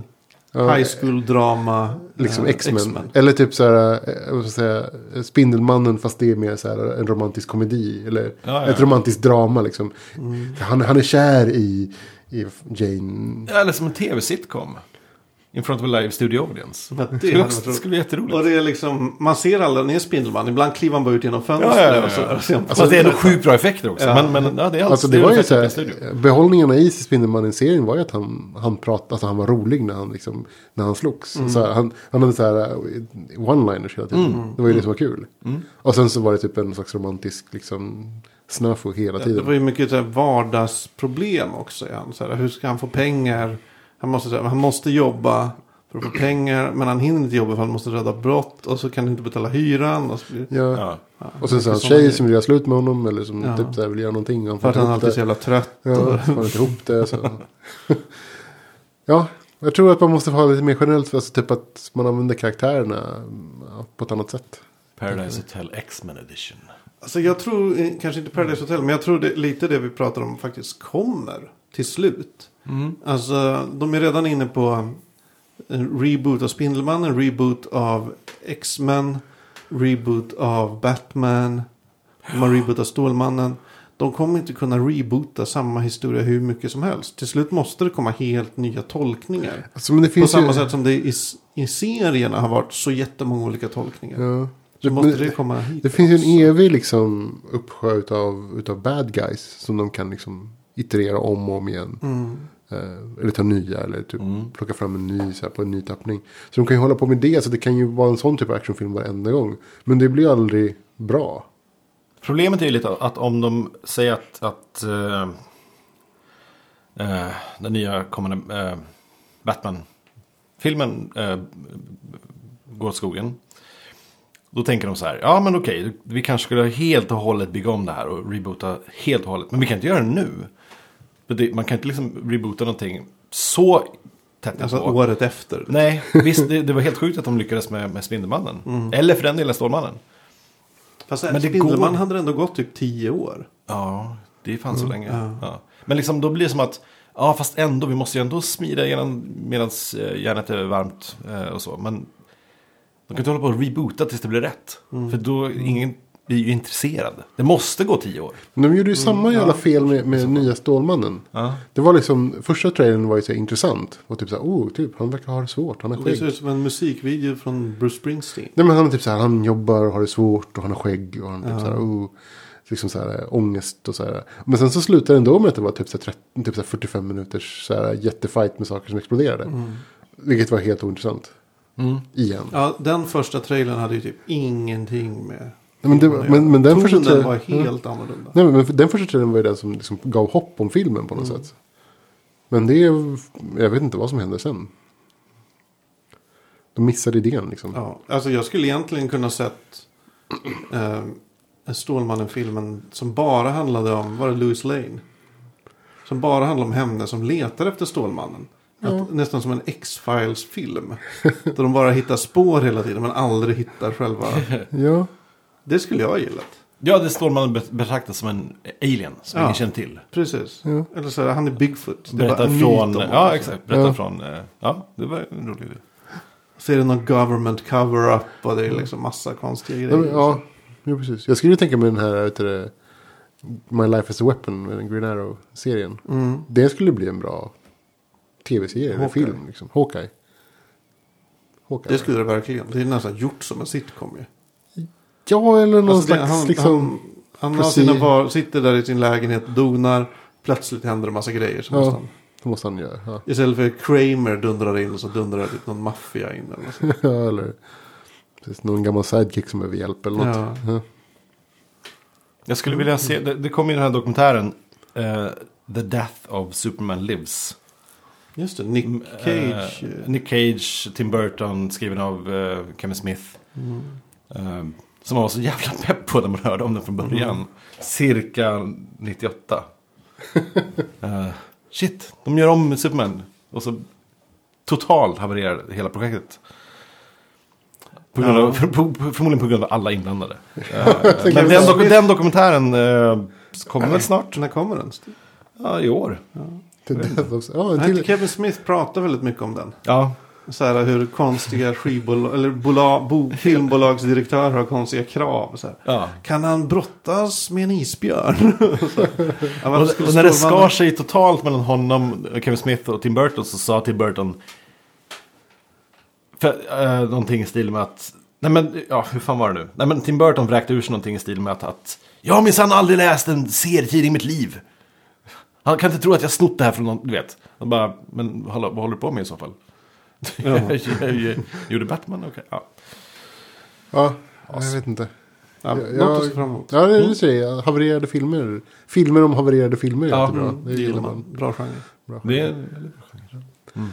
Ja,
High school drama.
Liksom
eh,
X-Men. Eller typ så här, eh, vad ska jag säga, Spindelmannen fast det är mer så här en romantisk komedi. Eller
Ja, ja.
ett romantiskt drama liksom. Han, han är kär i, i Jane.
Ja, Eller som en tv-sitcom. In front of a live studio audience.
Ja,
Det,
det hade
skulle,
varit
också,
roligt.
skulle bli jätteroligt.
Och det är liksom, man ser alla, ni är Spindelman, ibland klivar man bara ut genom fönstret.
Ja, ja, ja,
och så-
ja.
och ser man-
Fast det är ändå sjukt bra effekter också.
Ja.
Men, men ja, det är
Alltså det var ju så
ungefär som en studio.
här, behållningarna i Spindelmannen-serien var ju att han, han pratade, alltså han var rolig när han, liksom, när han slogs. Så här, han, han hade så här eh, one-liners hela tiden. Det var ju det som var kul. Och sen så var det typ en slags romantisk liksom snafu hela
Det
tiden.
var ju mycket så här vardagsproblem också. i han. Så här, hur ska han få pengar? Han måste, så här, han måste jobba för att få pengar. Men han hinner inte jobba för han måste rädda brott. Och så kan han inte betala hyran. Och så blir,
Ja.
Ja.
Och sen så hans
mycket sådana
tjej
grejer.
som vill göra slut med honom eller som
Ja.
typ så här vill göra någonting. Han
För
får
att
inte
han
ihop
alltid är
det.
så jävla trött.
Ja, får inte ihop det. Så. ja, jag tror att man måste ha lite mer generellt. Alltså typ att man använder karaktärerna ja, på ett annat sätt.
Paradise Hotel X-Men edition.
Alltså jag tror, eh, kanske inte Paradise Hotel, men jag tror det, lite det vi pratar om faktiskt kommer till slut. Alltså de är redan inne på en reboot av Spindelmannen, reboot av X-Men, reboot av Batman, de har reboot av Stålmannen. De kommer inte kunna reboota samma historia hur mycket som helst. Till slut måste det komma helt nya tolkningar.
Alltså, men det
På
finns
samma
ju...
sätt som det i, s- i serierna har varit så jättemånga olika tolkningar.
Ja.
Så måste
Men-
det komma hit.
Det finns ju en evig liksom, uppsjö utav, utav bad guys som de kan liksom iterera om och om igen. Eh, eller ta nya eller typ plocka fram en ny så här, på en ny tappning. Så de kan ju hålla på med det. Så det kan ju vara en sån typ av actionfilm varenda gång. Men det blir aldrig bra.
Problemet är ju lite att om de säger att, att eh, eh, den nya kommande eh, Batman-filmen eh, går åt skogen. Då tänker de så här, ja men okej, vi kanske skulle helt och hållet bygga om det här och reboota helt och hållet. Men vi kan inte göra det nu. För det, man kan inte liksom reboota någonting så tätt
Alltså
inpå.
året efter.
Nej, visst det, det var helt sjukt att de lyckades med, med Spindelmannen. Eller för den delen Stålmannen.
Fast
Men
men
det
Spindelman
går-
hade ändå gått typ tio år.
Ja, det fanns
Mm,
så länge. Ja. Men liksom, då blir det som att, ja fast ändå, vi måste ju ändå smida genom, medan järnet är varmt eh, och så. Men de kan inte hålla på och reboota tills det blir rätt.
Mm.
För då är ingen blir ju intresserad. Det måste gå tio år.
Men de gjorde ju samma jävla fel med, med nya Stålmannen.
Ja.
Det var liksom, första trailern var ju så här intressant. Och typ så här, oh, typ, han verkar ha det svårt, han har
Det
skägg.
ser ut som en musikvideo från Bruce Springsteen.
Nej men han är typ så här, han jobbar och har det svårt och han har skägg och han typ så här, oh, liksom så här äh, ångest och så här. Men sen så slutar det ändå med att det var typ så här, 30, typ så här 45 minuters så här jättefight med saker som exploderade. Vilket var helt ointressant. Igen.
Mm. Ja, den första trailern hade ju typ ingenting med...
Nej, men, det, var- men, men den
Tonen
första trailern Mm.
var
Ja.
helt annorlunda.
Nej, men för- den första trailern var ju den som liksom gav hopp om filmen på något
Mm.
sätt. Men det, jag vet inte vad som hände sen. De missade idén liksom.
Ja, alltså jag skulle egentligen kunna sett eh, Stålmannen-filmen som bara handlade om, var det Louis Lane? Som bara handlade om henne som letar efter Stålmannen. Att, nästan som en X-Files-film. där de bara hittar spår hela tiden men aldrig hittar själva.
Ja.
Det skulle jag ha gillat.
Ja, det Stålmannen bet- betraktas som en alien som
Ja.
ingen känner till.
Precis. Eller så här, han är Bigfoot. Det är bara
Berättar
en myt
från,
om honom.
ja exakt, berättar
Ja.
från, eh, ja det var en rolig idé.
Så är det någon government cover-up och det är liksom massa konstiga
Ja,
grejer. liksom.
men, ja, ja, precis. Jag skulle ju tänka mig den här, vet du, det, My Life Is A Weapon, med den Green Arrow-serien.
Mm.
Det skulle bli en bra tv-serie, eller
Hawkeye.
film, liksom. Hawkeye. Hawkeye.
Det skulle det verkligen. Det är nästan gjort som en sitcom ju.
Ja, eller någon
Alltså, det-
slags, liksom...
han, han har
precis-
sina var, sitter där i sin lägenhet, donar. Plötsligt händer det massa grejer. Som
ja,
ja.
det måste han göra. Ja.
Istället för Kramer dundrar in så dundrar det dit någon maffia in. Eller något sånt.
Ja, eller precis, någon gammal sidekick som behöver hjälp eller något.
Ja.
Ja.
Jag skulle
Mm.
vilja se, det, det kom ju den här dokumentären, eh, The Death of Superman Lives.
Just det, Nick Cage.
Mm, Eh, Nick Cage, Tim Burton, skriven av eh, Kevin Smith. Eh, som man var så jävla pepp på när man hörde om den från början. Cirka 98. Eh, shit, de gör om Superman. Och så totalt havererade hela projektet. På grund av, för, på, förmodligen på grund av alla inblandade. Eh,
tänker
Men
jag
den,
så.
doku, den dokumentären eh, kommer väl snart?
När kommer den?
Ja, i år.
The Death of... Ja, en
Jag
till...
tycker Kevin Smith pratar väldigt mycket om den.
Ja,
Så här hur konstiga skivbolag, eller bola, bo, filmbolagsdirektörer har konstiga krav. Så här.
ja.
Kan han brottas med en isbjörn? Så. Ja, varför
Och,
skulle
och när det skar
Stålmannen-
sig totalt mellan honom, Kevin Smith och Tim Burton så sa Tim Burton för, eh, någonting i stil med att, nej men, ja hur fan var det nu? Nej men Tim Burton vräkte ur sig någonting i stil med att, att jag har minsann aldrig läst en serietidning i mitt liv. Han kan inte tro att jag snott det här från någon, du vet. Han bara, men hallå, vad håller du på med i så fall? jag gjorde Batman, okej. Ja.
Ja, jag vet inte.
Ja,
Jag-
Något att se fram emot. Mm.
Ja, det säger jag. Havererade filmer. Filmer om havererade filmer är
Ja,
jättebra.
Mm,
Det gillar man.
Bra genre.
Det är en väldigt bra genre.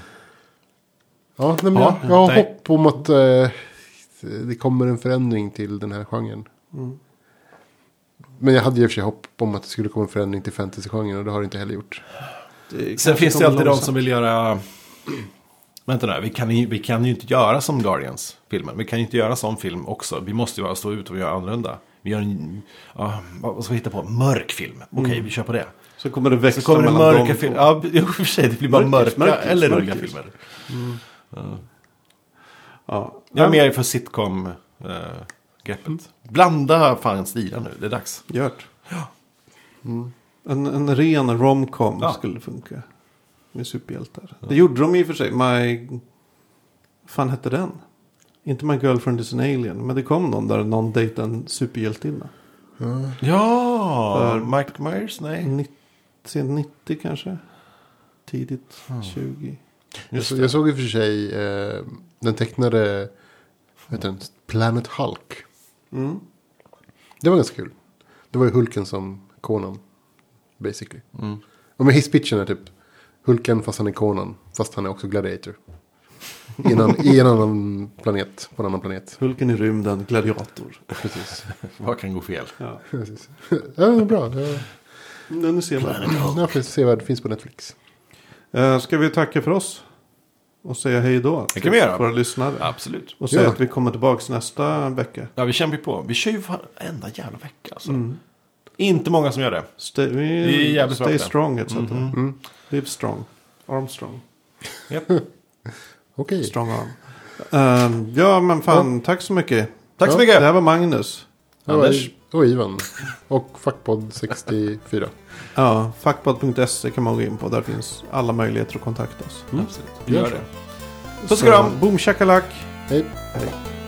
Ja, nej, men
Ja,
jag, jag har
nej.
hopp om att eh, det kommer en förändring till den här genren. Men jag hade i och för sig hopp om att det skulle komma en förändring till fantasygenren och det har det inte heller gjort.
Det kanske
Sen finns det
kommer
alltid de
långsamt.
som vill göra... Vänta nu, vi kan, ju- vi kan ju inte göra som Guardians-filmen. Vi kan ju inte göra sån film också. Vi måste ju bara stå ut och göra annorlunda. Vi gör en... Ja, vad ska vi hitta på? Mörk film. Okej, vi kör på det.
Så kommer det växa
Så kommer Mm. det
mellan
mörka
dem.
filmer. Ja, i och för sig, det blir bara
Mörkis,
mörka
mörkis,
eller roliga
mörkis.
filmer.
Ja.
Jag är
Ja,
mer för sitcom-greppet. Blanda fan stilar nu, det är dags.
Gjort. Mm. En, en ren romcom
Ja.
skulle funka. Med superhjältar. Det gjorde de i och för sig. My... fan hette den? Inte My Girlfriend Is An Alien. Men det kom någon där någon dejtade en superhjältinna.
Ja! Mm.
För-
Mike Myers? Nej.
Nitt- Sent 90 kanske? Tidigt 20.
Jag,
Just
så,
det.
jag såg i och för sig eh, den tecknade vad heter den, Planet Hulk.
Mm.
Det var ganska kul. Det var ju Hulken som Conan. Basically.
Mm.
Och med hisspitchen är typ Hulken fast han är Conan. Fast han är också Gladiator. I en, an- i en annan planet. På en annan planet.
Hulken i rymden, gladiator.
Precis.
Vad kan gå fel?
Ja.
Precis. ja, det är bra. Ja,
Mm, Nu nu ser man.
ja, precis. Se vad det finns på Netflix.
Eh, Ska vi tacka för oss? Och säga hej då
Det
till
kan vi göra.
våra lyssnare.
Absolut.
Och säga
Ja.
att vi kommer tillbaka nästa vecka.
Ja, vi kämpar ju på. Vi kör ju varenda jävla vecka. Alltså.
Mm.
Inte många som gör det.
Stay,
Det är jävligt Mm,
stay
bra.
strong etc. Live strong. Arm strong.
Okej.
Strong arm. Ehm, ja men fan, tack så mycket.
Tack så
Ja,
mycket!
Det här var Magnus.
Det var
Anders.
I- Och Ivan. Och Fackpodd 64.
Ja, fackbad.se kan man gå in på. Där finns alla möjligheter att kontakta oss.
Absolut. Vi
Gör
gör
så.
det.
Så
Puss och kram!
Boom shakalak.
Hej.
Hej.